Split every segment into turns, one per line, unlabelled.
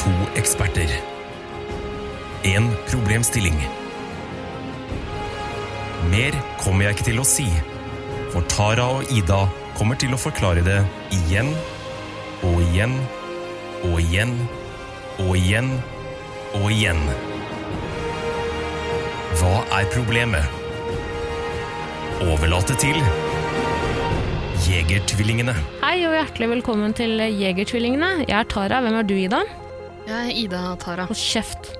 To eksperter. En problemstilling. Mer kommer jeg ikke til å si, for Tara og Ida kommer til å forklare det igjen og igjen og igjen og igjen og igjen. Hva er problemet? Overlate til Jegertvillingene.
Hei og hjertelig velkommen til Jegertvillingene. Jeg er Tara. Hvem er du, Ida?
Jeg er Ida Tara.
Hold kjeft.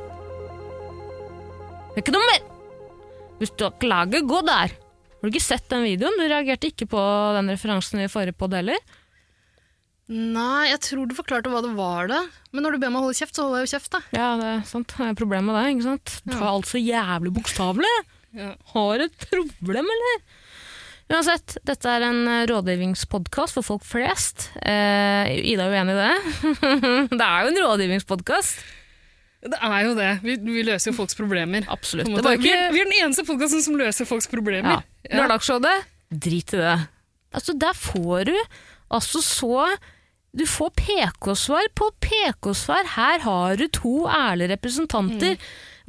Det er ikke noe mer! Hvis du har ikke laget, gå der! Har du ikke sett den videoen? Du reagerte ikke på den referansen i forrige podd heller.
Nei, jeg tror du forklarte hva det var, da. Men når du ber meg holde kjeft, så holder jeg jo kjeft, da.
Ja, det er sant. Det er problemet der, ikke sant? Du tar alt så jævlig bokstavelig.
Ja.
Har et problem, eller? Uansett, dette er en eh, rådgivningspodkast for folk flest. Eh, Ida er uenig i det. det er jo en rådgivningspodkast.
Det er jo det. Vi, vi løser jo folks problemer. På
Absolutt.
en
Det
måte.
var
vi,
ikke...
er, vi er den eneste podkasten som løser folks problemer.
Ja. Lørdagsrådet, drit i det. Altså, der får du altså så Du får PK-svar på PK-svar. Her har du to ærlige representanter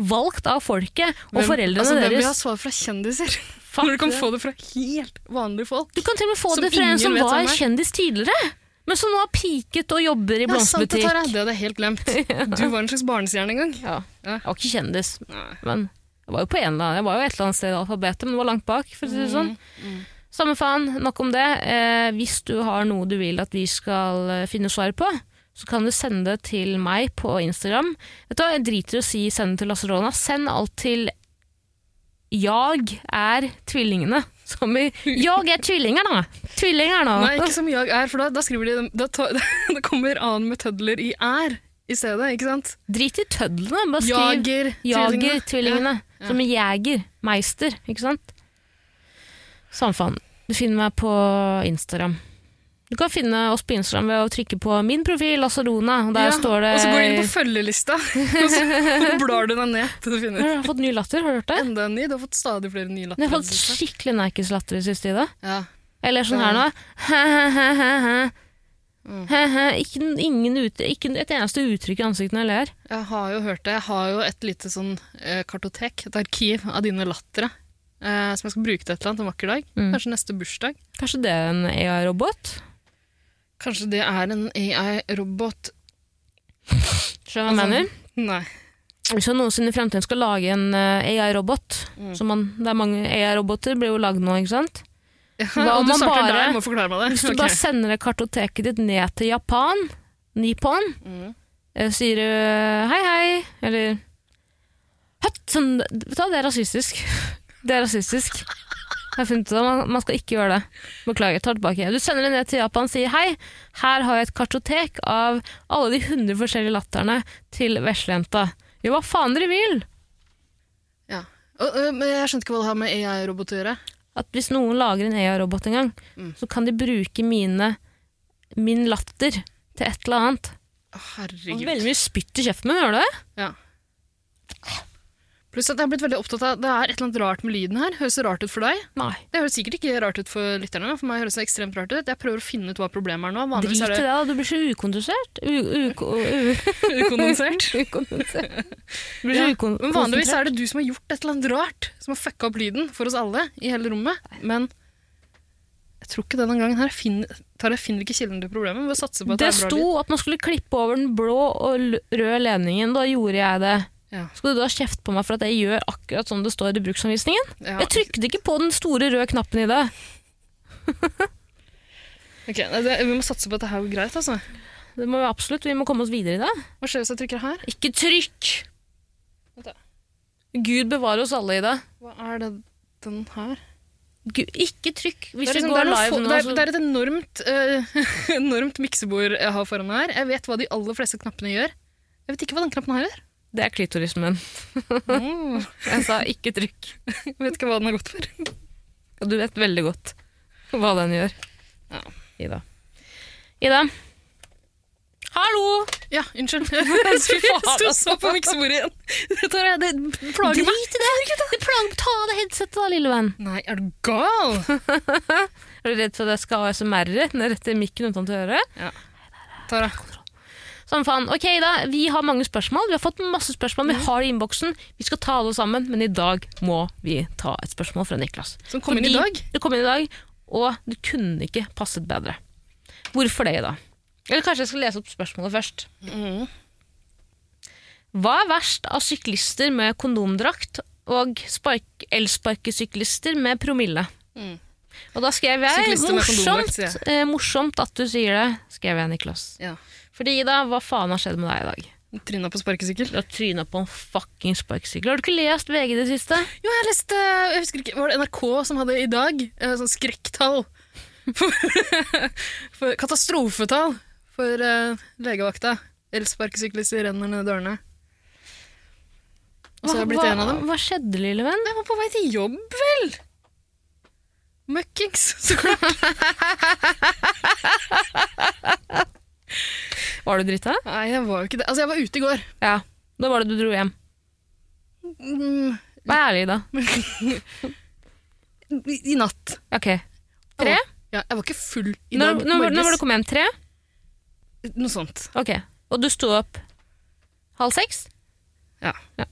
valgt av folket og
Mm. Hvem-
foreldrene
altså, Hvem vil ha
deres.
svar fra kjendiser?
Fuck
Når du kan
det.
få det fra helt vanlige folk.
Du kan til og med få
Som
det fra en
ingen
som
vet
var
hvem er.
kjendis tidligere, men som nå har piket og jobber i
Ja, sant det,
blomsterbutikk.
Tara. Det hadde jeg helt glemt. Du var en slags barnestjerne en gang.
Ja.
Ja.
Jeg var ikke kjendis,
Nei.
men jeg var jo på en eller annen, jeg var jo et eller annet sted i alfabetet, men det var langt bak, for å si
Mm,
det sånn. Samme faen, nok om det. Eh, hvis du har noe du vil at vi skal eh, finne svar på, så kan du sende det til meg på Instagram. Vet du hva, jeg driter i å si send det til Lasse Rona. Send alt til jag er tvillingene. Som i Jag er tvillingerne! Tvillingerne!
Nei, ikke som jag er, for da, da skriver de da, ta, da kommer an med tødler i er i stedet, ikke sant?
Drit i tødlene, bare skriv
Jager,
Jager
tvillingene.
tvillingene. Som en jeger. Meister, ikke sant? Samme faen. Du finner meg på Instagram. Du kan finne oss på Instagram ved å trykke på min profil, Lasarona. og Der
Ja,
står det
Og så går du inn på følgelista, og så blar du deg ned til du finner
Jeg har fått ny latter, har du hørt det?
enda en ny. Du har fått stadig flere nye
Jeg har fått
latterligheter.
skikkelig nerkeslatter i siste tida.
Ja. Mm.
Eller sånn her nå. Ikke, ingen ut, ikke et eneste uttrykk i ansiktet når jeg ler.
Jeg har jo hørt det. Jeg har jo et lite sånn eh, kartotek, et arkiv av dine lattere, eh, som jeg skal bruke til et eller annet en vakker dag.
Mm.
Kanskje neste bursdag.
Kanskje det er en AI-robot?
Kanskje det er en AI-robot. Altså,
Skjønner du hva jeg mener?
Nei.
Hvis han noensinne i fremtiden skal lage en eh, AI-robot
Mm.
som man, Det er mange AI-roboter blir jo lagd nå, ikke sant?
Ja,
Hva om
og du
man
starter
bare-
der, jeg må forklare meg det.
Hvis du
Ok.
bare sender det kartoteket ditt ned til Japan, Nippon,
Mm.
eh, sier du hei, hei, eller høtt, sånn, Vet du hva, det er rasistisk. Det er rasistisk. Jeg har funnet ut av man, man skal ikke gjøre det. Beklager, tar tilbake. Du sender det ned til Japan og sier hei, her har jeg et kartotek av alle de hundre forskjellige latterne til veslejenta. Jo, hva faen dere vil?
Ja. Og, ø, men jeg skjønte ikke hva det har med AI-robot å gjøre.
at hvis noen lager en AI-robot en gang,
Mm.
så kan de bruke mine, min latter til et eller annet.
Å,
Og
Herregud.
veldig mye spytt i kjeften min, gjør du det?
Ja. Pluss at jeg har blitt veldig opptatt av Det er et eller annet rart med lyden her. Høres det rart ut for deg?
Nei,
Det høres sikkert ikke rart ut for lytterne, men for meg høres det ekstremt rart ut. Jeg prøver å finne ut hva problemet er nå.
drit i
Vanligvis
det
er det
da, du blir så ukondensert. U uko- u
ukondensert.
ukondensert. Du blir
Ja,
så
men vanligvis
ukonsentrert.
er det du som har gjort et eller annet rart, som har fucka opp lyden for oss alle i hele rommet. Men jeg tror ikke denne gangen her finner, Tara, jeg finner ikke kilden til problemet. Vi må satse på at
Det
det, er bra
sto
lyd.
at man skulle klippe over den blå og l- røde ledningen, da gjorde jeg det.
Ja.
Skulle du da kjefte på meg for at jeg gjør akkurat som det står i bruksanvisningen?
Ja.
Jeg trykket ikke på den store røde knappen i det.
Ok, nei, det, vi må satse på at det her går greit, altså.
Det må vi absolutt, vi må komme oss videre i det.
Hva skjer hvis jeg trykker her?
Ikke trykk!
Vent da.
Gud bevare oss alle i det.
Hva er det den her?
Gud, ikke trykk hvis
det, er
vi
liksom, det,
går
er noe
live
få-
nå.
det,
så-
er, det er et enormt, eh, enormt miksebord jeg har foran meg her. Jeg vet hva de aller fleste knappene gjør. Jeg vet ikke hva den knappen her gjør.
det er klitorisen min. Jeg sa ikke trykk.
Jeg vet ikke hva den har gått for.
Og du vet veldig godt hva den gjør.
Ja.
Ida. Ida. Hallo!
Ja, unnskyld. Jeg stussa på miksebordet igjen. Det, tar jeg, det plager meg.
Drit i det! det plager, ta av deg headsetet, da, lille venn.
Nei, er du gal?
Er du redd for at jeg skal ASMR-e ned rett i mikken utenfor øret?
Tara,
Samme faen. Ok, da. Vi har mange spørsmål. Vi har fått masse spørsmål.
Mm.
Vi har det i innboksen. Vi skal ta alle sammen, men i dag må vi ta et spørsmål fra Niklas.
Som kom inn i
Fordi
dag.
Det kom inn i dag, og det kunne ikke passet bedre. Hvorfor det, da? Eller kanskje jeg skal lese opp spørsmålet først. Hva er verst av syklister med kondomdrakt og spark- elsparkesyklister med promille?
Mm.
Og da skrev jeg
Syklister med kondomdrakt,
morsomt,
sier jeg.
eh, morsomt at du sier det, skrev jeg, Niklas.
Ja.
Fordi da, hva faen har skjedd med deg i dag?
Tryna på sparkesykkel.
Du har tryna på en fucking sparkesykkel. Har du ikke lest VG i det siste?
Jo, jeg leste jeg husker ikke, Var det NRK som hadde i dag eh, sånn skrekktall? For, for katastrofetall for eh, legevakta. Elsparkesyklister renner ned dørene. Og så har jeg blitt
hva,
en av dem.
hva skjedde, lille venn?
Jeg var på vei til jobb, vel! Møkkings, så klart.
Var du drita?
Nei, jeg var jo ikke det. Altså, jeg var ute i går.
Ja. Da var det du dro hjem.
Mm,
Vær ærlig, da.
i, I natt.
Ok. Tre?
Ja, jeg var ikke full i
Når,
dag.
når, når var
morges.
det kom hjem? Tre?
Noe sånt.
Ok. Og du sto opp halv seks?
Ja.
Ja.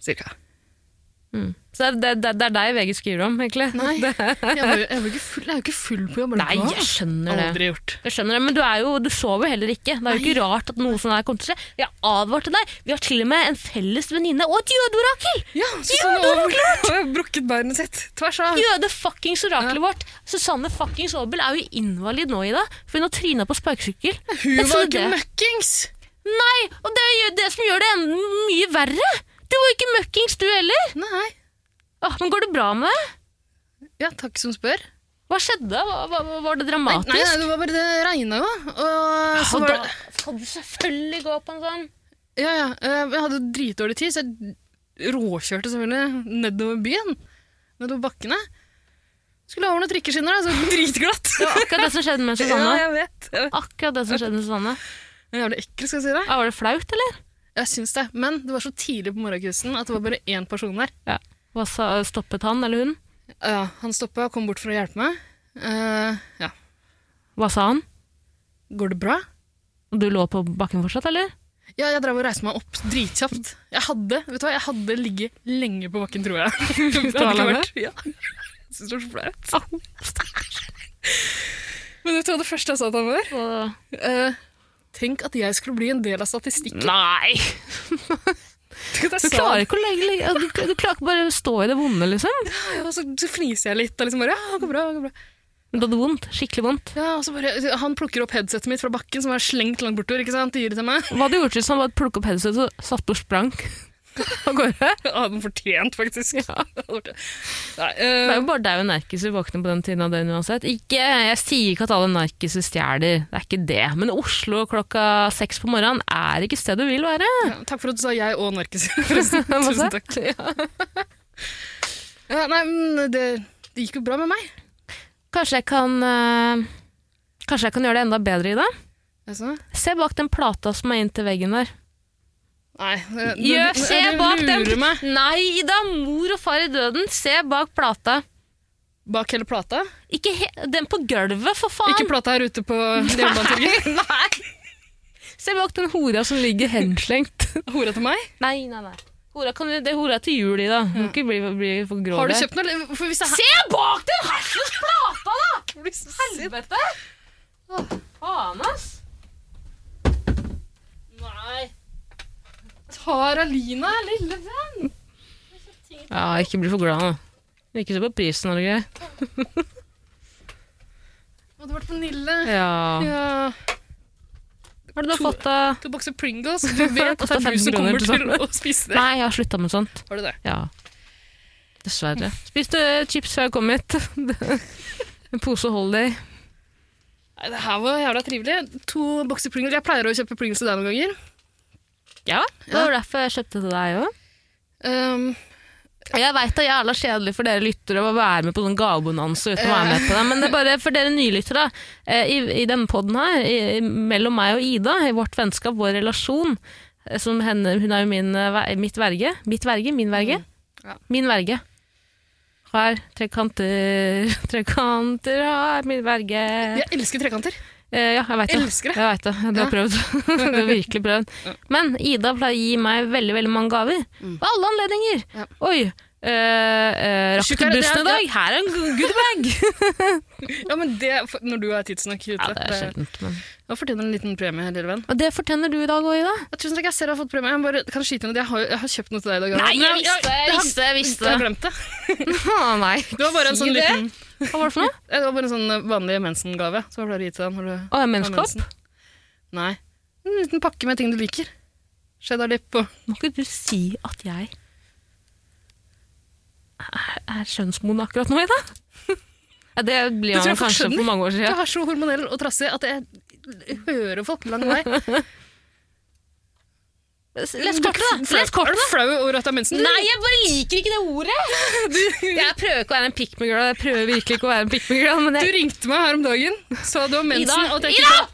Cirka.
Mm. Så det, det, det er deg VG skriver om, egentlig?
Nei,
Det,
jeg, var, jo- jeg, var ikke full, jeg er jo ikke full på jobb. er det
nei
bra?
jeg skjønner det.
Aldri gjort.
Jeg skjønner det, Men du, er jo, du sover jo heller ikke. Det er jo ikke rart at noe sånt her kommer til å skje. Vi har advart deg. Vi har til og med en felles venninne og et jødeorakel!
Ja, Susanne
det var
Aabel har brukket beinet sitt tvers av.
Jøde-fuckings orakelet vårt! Susanne fuckings Aabel er jo invalid nå, Ida. For hun har tryna på sparkesykkel.
Hun
Jeg
var
trodde
ikke
det.
møkkings!
Nei! Og det er jo det som gjør det enda mye verre! Du var jo ikke møkkings, du heller!
Nei.
Åh, men går det bra med deg?
Ja, takk som spør.
Hva skjedde? Hva, hva, hva- var det
Nei,
dramatisk?
nei, nei, det var bare det regna jo. Og så
og
var
da
det
skal du selvfølgelig gå på en sånn.
Ja, ja. eh, Jeg hadde dritdårlig tid, så jeg råkjørte selvfølgelig nedover byen. Nedover bakkene. Skulle over noen trikkeskinner, da, så dritglatt.
Det var akkurat det som skjedde med
Ja,
Susanne.
jeg vet. Jeg vet.
Akkurat det som skjedde med Susanne.
Det er jævlig ekkelt, skal jeg si deg.
Ja, var det flaut, eller?
Jeg syns det. Men det var så tidlig på morgenkvisten at det var bare én person der.
Ja. Hva sa, stoppet han eller hun?
Ja, han stoppa og kom bort for å hjelpe meg. Eh, ja.
Hva sa han?
Går det bra?
Du lå på bakken fortsatt, eller?
Ja, jeg drev og reiste meg opp dritkjapt. Jeg hadde vet du hva, jeg hadde ligget lenge på bakken, tror jeg. det hadde ikke
alene?
vært. Ja. Jeg syns det var så flaut. Men vet du hva det første jeg sa til han var?
Og-
Eh, tenk at jeg skulle bli en del av statistikken.
Nei!
Tenk
Du
at jeg sa
klarer
det.
ikke å legge, legge du, du klarer ikke bare å stå i det vonde, liksom.
Og så, så fniser jeg litt og liksom bare Ja, det går bra. det går bra.
Du hadde vondt. Skikkelig vondt.
Ja, og så bare, Han plukker opp headsetet mitt fra bakken, som er slengt langt bortover. ikke sant? Gir det til meg.
Hva hadde du gjort hvis han bare plukket opp headsetet og satt på sprang av gårde?
Hadde den fortjent, faktisk. Nei,
Det er
eh,
jo bare daue narkiser våkne på den tiden av døgnet uansett. Ikke, jeg sier ikke at alle narkiser stjeler, det er ikke det. Men Oslo klokka seks på morgenen er ikke stedet du vil være.
ja, takk for at du sa jeg og narkis, forresten.
Hva sa jeg?
Tusen takk. Ja, nei, men det, det gikk jo bra med meg.
Kanskje jeg kan, eh, kanskje jeg kan gjøre det enda bedre, Ida?
Altså.
Se bak den plata som er inntil veggen der.
Nei, eh, det, det,
Gjør,
det-
se
det
bak
lurer
den!
meg
Nei, Ida! Mor og far i døden, se bak plata.
bak hele plata.
Ikke he den på gulvet, for faen!
Ikke plata her ute på Jernbanetorget.
Se bak den hora som ligger henslengt.
Hora til meg.
nei, nei, nei. Hora kan, du- det er hora til jul, Ida. Du må ikke bli, bli for grå.
Har du
der.
kjøpt noe? eller- For hvis det
Se bak den hersens plata, da!
her
Helvete! Faen, ass.
Nei. Tara Lina, lille venn.
Ja, ikke bli for glad nå. Ikke se på prisen og greier.
Hadde vært på Nille.
Ja.
Ja.
Har du da
To-
fått av
To bokser Pringles. Du vet at det
Kostet
er du
15
som
kroner
kommer
til
til
sammen.
å spise det.
Nei, jeg har slutta med sånt.
Har du det?
Ja. Dessverre. Spiste eh, chips før jeg kom hit. En pose Holiday.
Nei, det her var jævla trivelig. To bokser Pringles. Jeg pleier å kjøpe Pringles til deg noen ganger.
Ja, det var derfor jeg kjøpte til deg òg.
Ehm,
Jeg veit det er jævla kjedelig for dere lyttere å være med på sånn gavebonanse uten å være med på det, men det er bare for dere nylyttere. eh, I, i denne poden her, i, mellom meg og Ida, i vårt vennskap, vår relasjon eh, som henne, Hun er jo min, eh, ver- mitt verge. Mitt verge, min verge.
Ja.
Min verge. Her, trekanter, trekanter har min verge.
jeg elsker trekanter.
Eh, ja, jeg veit det.
Elsker det.
Jeg vet det. Du har
Ja.
prøvd. du har virkelig prøvd. Men Ida pleier å gi meg veldig veldig mange gaver.
Mm.
Ved alle anledninger.
Ja.
Oi, eh, eh, rakk
Tjukk
du
er det,
bussen i
det er-
dag? Her er en goodiebag!
Ja, men det, for- når du er tidsnok ute,
ja, det er
det-
sjeldent, men
da fortjener du en liten premie, lille venn.
Og det fortjener du i dag òg, Ida.
Ja, tusen takk, jeg ser du har fått premie. Jeg bare kan skyte inn at jeg har, jeg har kjøpt noe til deg i dag.
Nei, jeg
Men
visste, jeg
har-
visste, jeg visste.
Jeg har glemt det.
Å, nei.
Det var bare en
Si
sånn
det.
liten,
Hva var det for noe?
det var bare en sånn eh, vanlig mensengave som jeg pleier å gi til deg når du
Å, en
har mensen.
menskopp?
Nei. En liten pakke med ting du liker. Cheddar-dipp og
Må ikke du si at jeg er, er kjønnsmoden akkurat nå, Ida? Ja, det blir
Det
man
tror jeg folk
kanskje
skjønner.
for mange år
Du
siden.
er så hormonell og trassig at jeg hører folk lang vei.
Les kortet, da!
Flau-
Les kortet,
Er
da!
du flau over at det er mensen?
Nei, jeg bare liker ikke det ordet! Jeg prøver ikke å være en pick me girl, jeg prøver virkelig ikke å være en pick me girl, men
Du
jeg...
ringte meg her om dagen, sa du har mensen
Ida!
og at jeg ikke
Ida!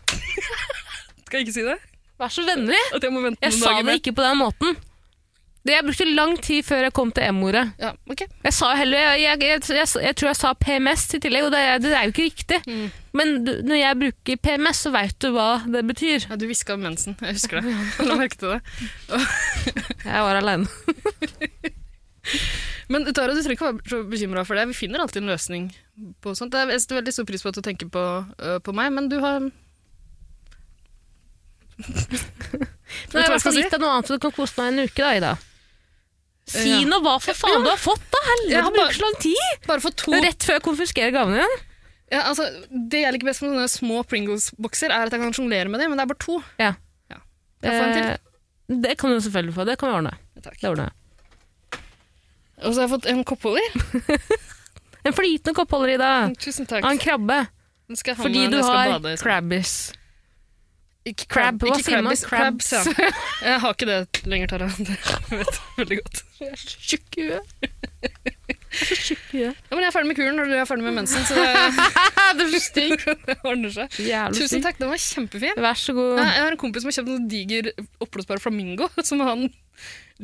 Skal jeg ikke si det?
Vær så vennlig!
At jeg må vente
Jeg
noen
sa
dager
det
med.
ikke på den måten. Det- Jeg brukte lang tid før jeg kom til M-ordet.
Ja, ok.
Jeg sa jo heller jeg, jeg, jeg, jeg, jeg tror jeg sa PMS i tillegg, og det, er- det er jo ikke riktig.
Mm.
Men du, når jeg bruker PMS, så veit du hva det betyr.
Ja, du hviska om mensen. Jeg husker det. La merke til det.
Jeg var aleine.
Men Tara, du trenger ikke være så bekymra for det. Vi finner alltid en løsning på sånt. Jeg setter veldig stor pris på at du tenker på, øh, på meg, men du har
Nå har
Vet du hva
jeg
jeg skal
altså
si?
gitt deg noe annet så du kan kose meg en uke, da, Ida. Si
Ja.
nå hva for faen du har fått, da! Helvete,
Jeg
du
har
bruker så lang tid!
Bare for to
Det er Rett før jeg konfiskerer gavene dine.
ja, altså, Det jeg liker best med sånne små Pringles-bokser, er at jeg kan sjonglere med dem, men det er bare to. Kan jeg få en til?
Eh, Det kan du selvfølgelig få. Det kan vi ordne.
Ja, Takk.
Det ordner jeg.
Og så har jeg fått en koppholder.
En flytende koppholder, Ida.
Tusen
Av en
Mm, takk.
krabbe.
Den skal jeg ha
Fordi
med
du
når jeg skal
har
bade, liksom.
crabbies.
Ikke
Crab, hva
ikke
sier man?
crabbies, Crabs, ja. Jeg har ikke det lenger, Tara. Det vet jeg veldig godt.
Tjukk i huet. Jeg er så tjukk i huet.
Ja, men jeg er ferdig med kuren når du er ferdig med mensen, så det,
Du er så stygg.
det ordner seg.
Jævlig
Tusen
stygg.
takk, den var kjempefin.
Vær så god.
Nei, Jeg har en kompis som har kjøpt en sånn diger oppblåsbar flamingo som han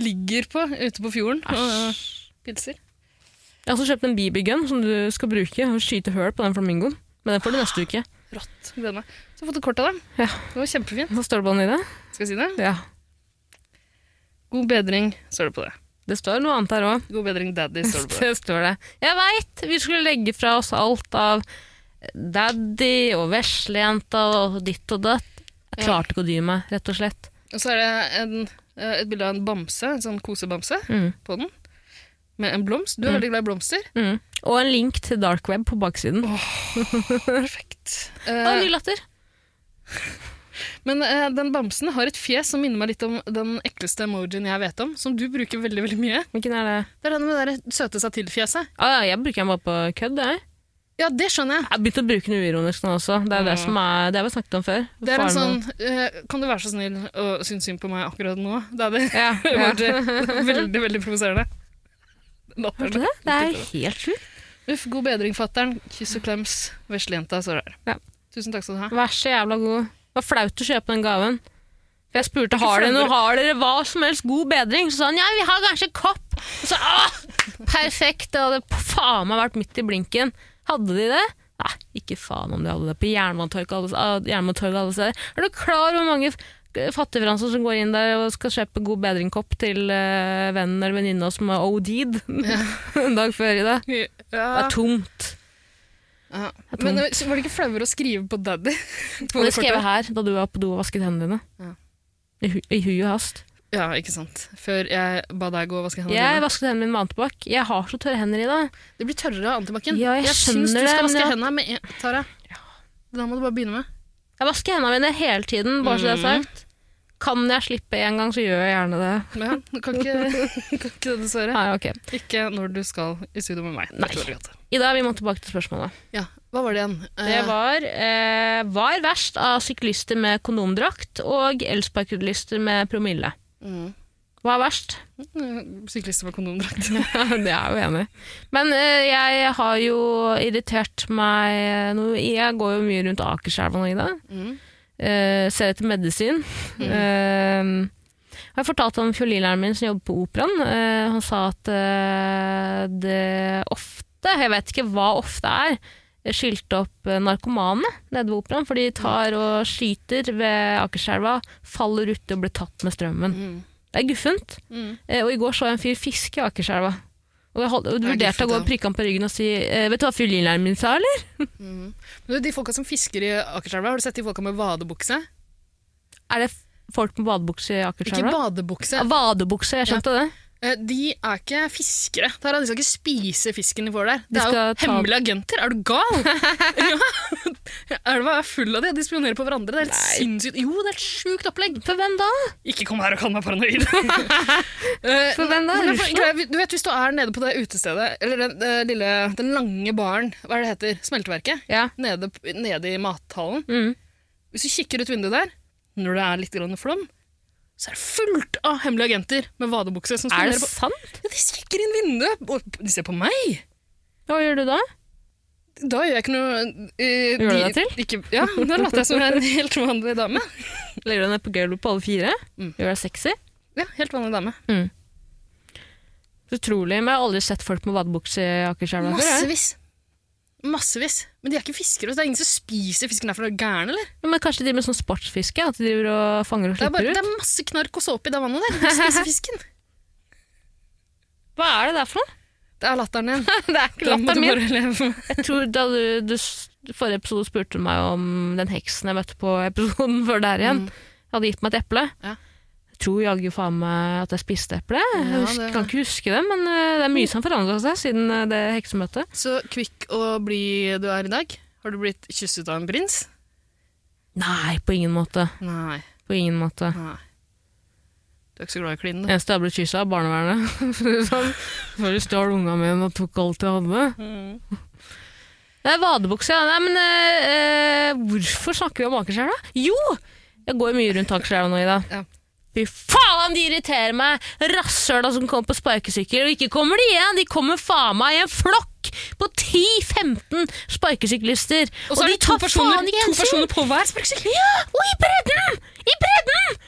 ligger på ute på fjorden og eh,
Æsj.
pilser.
Jeg har også kjøpt en BB-gun som du skal bruke og skyte høl på den flamingoen. Men den får du neste uke.
Rått. gleder meg. Så jeg har fått et kort av dem.
Ja.
Det var kjempefint.
Hva står det på den i det?
Skal jeg si det?
Ja.
God bedring, står det på det.
Det står noe annet her òg.
God bedring, daddy, står det på det.
Det står det. Jeg veit! Vi skulle legge fra oss alt av daddy og veslejenta og ditt og datt. Jeg klarte ikke å dy meg, rett og slett.
Og så er det en, eh, et bilde av en bamse, en sånn kosebamse,
Mm.
på den. Med en blomst. Du er veldig glad i blomster.
Mm. Og en link til dark web på baksiden. Å,
Perfekt. Eh,
ny latter!
men eh, den bamsen har et fjes som minner meg litt om den ekleste emojien jeg vet om, som du bruker veldig, veldig mye.
Hvilken er det?
Det er den med det der søte seg til-fjeset.
Å Ah, ja, jeg bruker den bare på kødd, jeg.
Ja, det skjønner jeg.
Jeg har begynt å bruke den uironisk nå også. Det er det
Mm.
som er Det har vi snakket om før.
Det er en sånn
Faren
eh, Kan du være så snill å synes synd på meg akkurat nå? Det er det. eh,
min. ja, ja.
veldig, veldig provoserende.
Hørte du
Latteren.
det? Det er helt sjukt.
Uff, god bedring, fatter'n. Kyss og klems. Veslejenta står her.
Ja.
Tusen takk skal du ha.
Vær så jævla god. Det var flaut å kjøpe den gaven. For Jeg spurte har dere noe, har dere hva som helst god bedring. Så sa han ja, vi har kanskje kopp. Og så, Åh, perfekt! Det hadde p- faen meg vært midt i blinken. Hadde de det? Nei, ikke faen om de hadde det på Jernbanetorget alle, ah, Jernbanetorget alle steder. Er du klar over hvor mange f- fattigfranser som går inn der og skal kjøpe god bedring-kopp til eh, vennen eller venninna som har OD'd en dag før i dag? Det
Ja.
er tomt.
Ja.
Det er
Men eh, så var det ikke flauere å skrive på daddy? På
Og det
det
skrev jeg
kortet?
her da du var på do og vasket hendene dine.
Ja.
I, hu I hui og hast.
Ja, ikke sant. Før jeg ba deg gå og vaske hendene
Jeg
dine.
vasket hendene mine med antibac. Jeg har så tørre hender i dag.
Det blir tørrere av antibac-en.
Ja, jeg
syns du
skjønner det,
skal
men
vaske
jeg-
hendene med en Tara. Da må du bare begynne med.
Jeg vasker hendene mine hele tiden, bare så det er
Mm.
sagt. Kan jeg slippe en gang, så gjør jeg gjerne det.
Ja, du kan ikke, kan ikke det, dessverre.
Nei, ok.
Ikke når du skal i studio med meg. Det
Nei.
tror jeg godt.
Ida, vi må tilbake til spørsmålet.
Ja, Hva var det igjen?
Det var eh, var verst av syklister med kondomdrakt og elsparkesyklister med promille. Hva er verst?
Mm. Syklister med kondomdrakt.
det er jeg jo enig i. Men eh, jeg har jo irritert meg noe. Jeg går jo mye rundt Akerselva nå, Ida.
Mm.
Eh, ser etter medisin. Eh, jeg har fortalt om fiolinlæreren min som jobber på operaen. Eh, han sa at eh, det ofte, jeg vet ikke hva ofte er, skilte opp eh, narkomane nede ved operaen, for de tar og skyter ved Akerselva, faller uti og blir tatt med strømmen.
Mm.
Det er guffent.
Mm.
Eh, Og i går så jeg en fyr fiske i Akerselva. Og jeg holdt, og
Det er
vurderte å gå
guffent,
og prikke han på ryggen og si eh, Vet du hva fiolinlæreren min sa, eller?
Men du, de folka som fisker i Akerselva, har du sett de folka med vadebukse?
Er det f- folk med vadebukse i
Ikke
Akerselva?
badebukse.
Ja, vadebukse, jeg skjønte det.
Eh, De er ikke fiskere. Tara. De skal ikke spise fisken de får der.
De
Det er jo
skal ta-
hemmelige agenter. Er du gal? ja. Elva er full av de. De spionerer på hverandre. Det er helt sinnssykt. Jo, det er et sjukt opplegg.
For hvem da?
Ikke kom her og kall meg paranoid. Eh,
For hvem da?
men det er for-
Russland?
greia- Du vet, Hvis du er nede på det utestedet, eller den, eh, lille, den lange baren, hva er det heter, smelteverket,
Ja.
nede, p- nede i mathallen
Mm.
Hvis du kikker ut vinduet der, når det er litt grann flom, så er det fullt av hemmelige agenter med vadebukse som
Er
spionerer
det
på
sant?
ja, De kikker inn vinduet, og de ser på meg!
Hva gjør du da?
Da gjør jeg ikke noe
Gjør
eh,
du
de-
deg til?
Ikke, ja, da later jeg som jeg er en helt vanlig dame.
Legger deg ned på gulvet på alle fire?
Mm.
Gjør deg sexy?
Ja, helt vanlig dame.
Utrolig. Men jeg har aldri sett folk med vadebukse i Akerselva før. jeg.
Massevis. Massevis. Men de er ikke fiskere. så Det er ingen som spiser fisken herfra. Er du gæren, eller?
Men kanskje de med sånn sportsfiske? At de driver og fanger og
Det er,
slipper
bare,
ut?
det er masse knark og såpe i det vannet der. Du spiser fisken.
Hva er det der for noe?
Det er latteren igjen.
det er ikke
Da må du
latteren min.
bare leve med.
Jeg tror da du, du s- forrige episode spurte du meg om den heksen jeg møtte på episoden før der igjen. Hadde gitt meg et eple.
Ja.
Jeg tror jaggu faen meg at jeg spiste eple. Jeg
Ja,
husker,
det-
kan ikke huske det, men eh, det er mye som har forandra seg siden eh, det heksemøtet.
Så kvikk og blid du er i dag. Har du blitt kysset av en prins?
Nei, på ingen måte.
Nei.
På ingen måte.
Nei. Du er ikke så glad i klinen, du.
Eneste jeg ble kyssa av, barnevernet. For å si det sånn. Før de stjal unga mine og tok alt jeg hadde. Mm. Det er vadebukse, ja. Nei, men eh, eh, hvorfor snakker vi om Akerselva? Jo! Jeg går mye rundt Akerselva nå, Ida.
Ja.
Fy faen, de irriterer meg! Rasshøla som kommer på sparkesykkel. Og ikke kommer de igjen, de kommer faen meg i en flokk på 10-15 sparkesyklister.
Og så er
de
det to
tar
personer,
faen ikke
to
hensyn.
personer på hver sparkesykkel.
Ja, og i bredden! I bredden!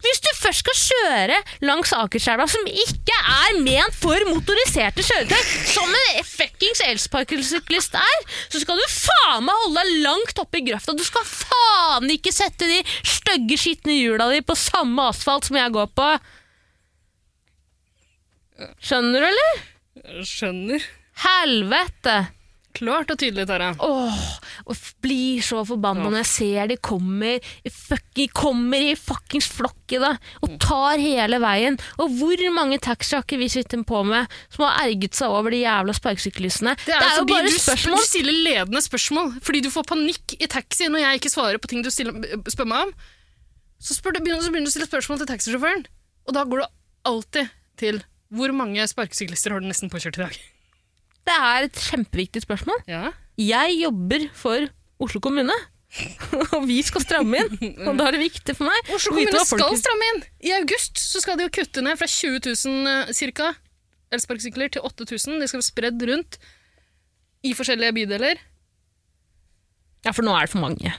Hvis du først skal kjøre langs Akerselva, som ikke er ment for motoriserte kjøretøy, som en fuckings elsparkesyklist er, så skal du faen meg holde deg langt oppe i grøfta. Du skal faen ikke sette de stygge, skitne hjula di på samme asfalt som jeg går på. Skjønner du, eller?
Skjønner.
Helvete!
Klart og tydelig, Tara.
Åh, og f- blir så forbanna når jeg ser de kommer, i fuck, kommer i fuckings flokk i det, og tar hele veien. Og hvor mange taxier har ikke vi sittet på med som har erget seg over de jævla sparkesyklistene? Det, er jo
fordi
bare
altså du, sp-
spørsmål.
Du stiller ledende spørsmål fordi du får panikk i taxi når jeg ikke svarer på ting du stiller, spør meg om. Så, spør du, begynner, så begynner du å stille spørsmål til taxisjåføren, og da går du alltid til hvor mange sparkesyklister har du nesten påkjørt i dag?
Det er et kjempeviktig spørsmål.
Ja.
Jeg jobber for Oslo kommune. og vi skal stramme inn, og da er det viktig for meg
Oslo
å vite
kommune
hva folk-
skal stramme inn! I august så skal de jo kutte ned fra 20 000 eh, cirka, elsparkesykler til 8000. De skal være spredd rundt i forskjellige bydeler.
Ja, for nå er det for mange.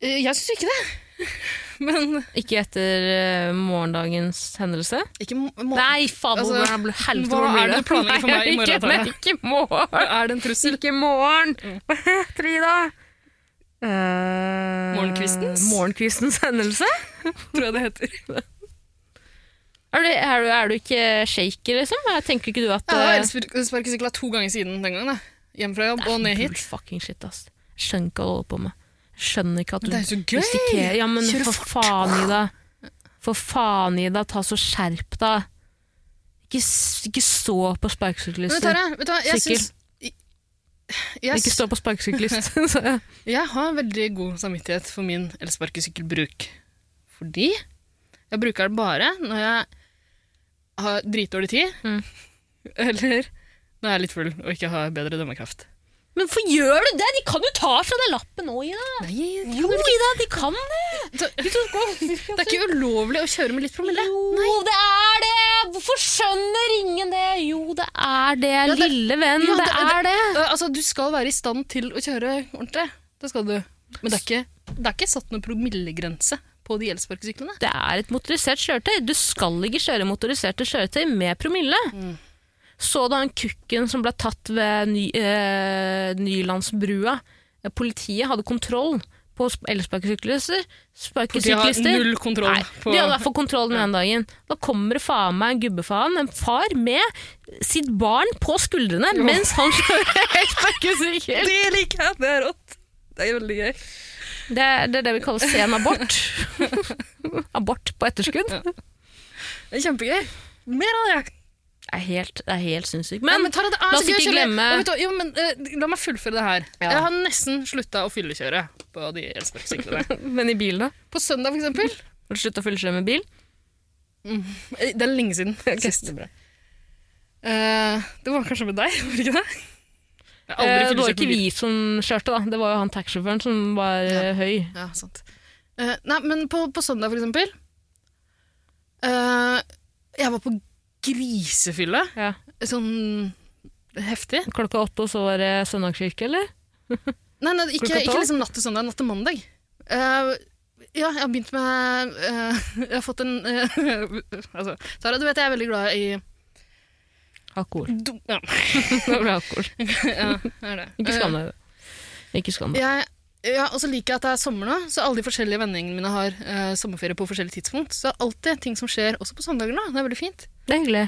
Eh, Jeg syns ikke det. Men
Ikke etter eh, morgendagens hendelse.
ikke må, må,
Nei, faen,
Altså,
hvordan blir- helvete,
hva
hvordan blir
er det du planlegger for
Nei,
meg i morgen,
Ikke,
Tara?
nei, ikke morgen!
Er det en trussel? Mm.
Ikke morgen! Hva heter de da? Eh,
Morgenkvistens?
Morgenkvistens hendelse?
Tror jeg det heter.
Er du, er, du, er du ikke shaker, liksom? Jeg tenker ikke du at
Ja,
eh,
elsparkesykla to ganger siden den gangen. da. Hjem fra jobb og ned hit.
Bull fucking shit, ass. Skjønner ikke hva du holder på med. Skjønner ikke at du
Det er jo så gøy!
risikerer Ja, men
Kjøre
for faen, Ida. For faen, Ida. Ta så skjerp deg. Ikke, s- ikke stå på liksom.
Men
sparkesyklister.
Tara, vet du hva, jeg
Sykkel.
syns jeg, jeg
Ikke
syns-
stå på sparkesyklist. sa jeg.
jeg har veldig god samvittighet for min elsparkesykkelbruk. Fordi jeg bruker den bare når jeg har dritdårlig tid,
Mm.
eller når jeg er litt full og ikke har bedre dømmekraft.
Men hvorfor gjør du det? De kan jo ta fra deg lappen nå, Ida.
Nei,
Jo, Ida, de kan det.
det er ikke ulovlig å kjøre med litt promille.
Jo, det er det. Hvorfor skjønner ingen det? Jo, det er det,
det-
lille venn.
Ja,
det, er det.
Eh, Altså, du skal være i stand til å kjøre ordentlig. Det skal du. Men det er ikke, det er ikke satt noen promillegrense på de elsparkesyklene.
Mm. Det er et motorisert kjøretøy. Du skal ikke kjøre motoriserte kjøretøy med promille. Så du han kukken som ble tatt ved ny, eh, Nylandsbrua? Eh, Politiet hadde kontroll på sp- elsparkesyklister.
Politiet har
Sparkesyklister
null kontroll
Nei,
på
de hadde i hvert fall kontroll den ene dagen. Da kommer det faen meg en gubbefaen, en far med sitt barn på skuldrene mens han kjører elsparkesykkel.
Det liker jeg! Det er rått. Det er veldig gøy.
Det, er- det er det vi kaller sen abort. abort på etterskudd.
Det er kjempegøy. Mer av det.
Det er helt, det er helt sinnssykt.
Men,
Men
Tara, det er
la
så
oss
gøy å
ikke
kjøre.
glemme-
Og vet du hva, jo, men, eh, La meg fullføre det her.
Ja.
Jeg har nesten slutta å fyllekjøre på de elsparkesyklene.
Men i bilen, da?
på søndag, for eksempel.
Har du slutta å fyllekjøre med bil?
Eh, Det er lenge siden. Sist. Eh, det var kanskje med deg, var det ikke det? Jeg har
Eh,
aldri
det var
fyllekjørt på
ikke
bil.
vi som kjørte, da. Det var jo han taxisjåføren som var eh, høy.
Ja, sant. Eh, nei, men på, på søndag, for eksempel eh, Jeg var på grisefylle.
Ja.
Sånn heftig.
Klokka åtte, og så var det søndagskirke, eller?
Nei, nei ikke,
Klokka
ikke
tolv?
liksom natt til søndag, natt til mandag. Eh, ja, jeg har begynt med eh, Jeg har fått en eh, altså, Tara, du vet jeg er veldig glad i
Alkohol.
do, ja,
Nå ble det alkohol.
ja, det er det.
Ikke skam deg. Ikke skam
Eh,
deg.
jeg, ja, og så liker jeg at det er sommer nå, så alle de forskjellige vennene mine har eh, sommerferie på forskjellige tidspunkt. Så det er alltid ting som skjer også på søndager nå. Det er veldig fint.
Det er hyggelig.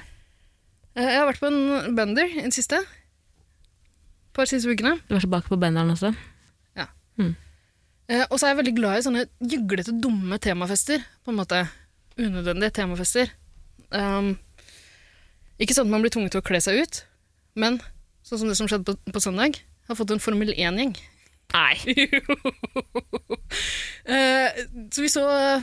Eh, Jeg har vært på en bender i det siste. Par siste ukene.
Du var tilbake på benderen også.
Eh, Og så er jeg veldig glad i sånne gjøglete, dumme temafester. På en måte. Unødvendige temafester. Ehm, ikke sånn at man blir tvunget til å kle seg ut, men sånn som det som skjedde på, på søndag. Jeg har fått en Formel 1-gjeng.
Nei.
Eh, så vi så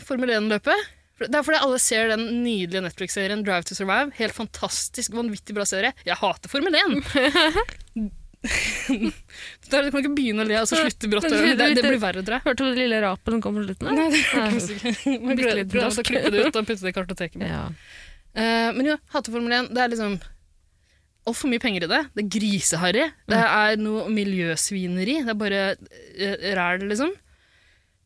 Formel 1-løpet. Det er fordi alle ser den nydelige Netflix-serien Drive to Survive. Helt fantastisk, vanvittig bra serie. Jeg hater Formel 1! Det er- du kan ikke begynne å le og så slutte brått. å gjøre Det, det, det blir verre, tror jeg.
Hørte du det lille rapet som kom på slutten?
Nei,
der?
det er ikke Man
Bitte litt
prøver å
brask.
klippe det ut og putte det i kartoteket. mitt.
Ja.
Eh, men jo, hater Formel 1. Det er liksom altfor mye penger i det. Det er griseharry. Det
Mm.
er noe miljøsvineri. Det er bare eh, ræl, liksom.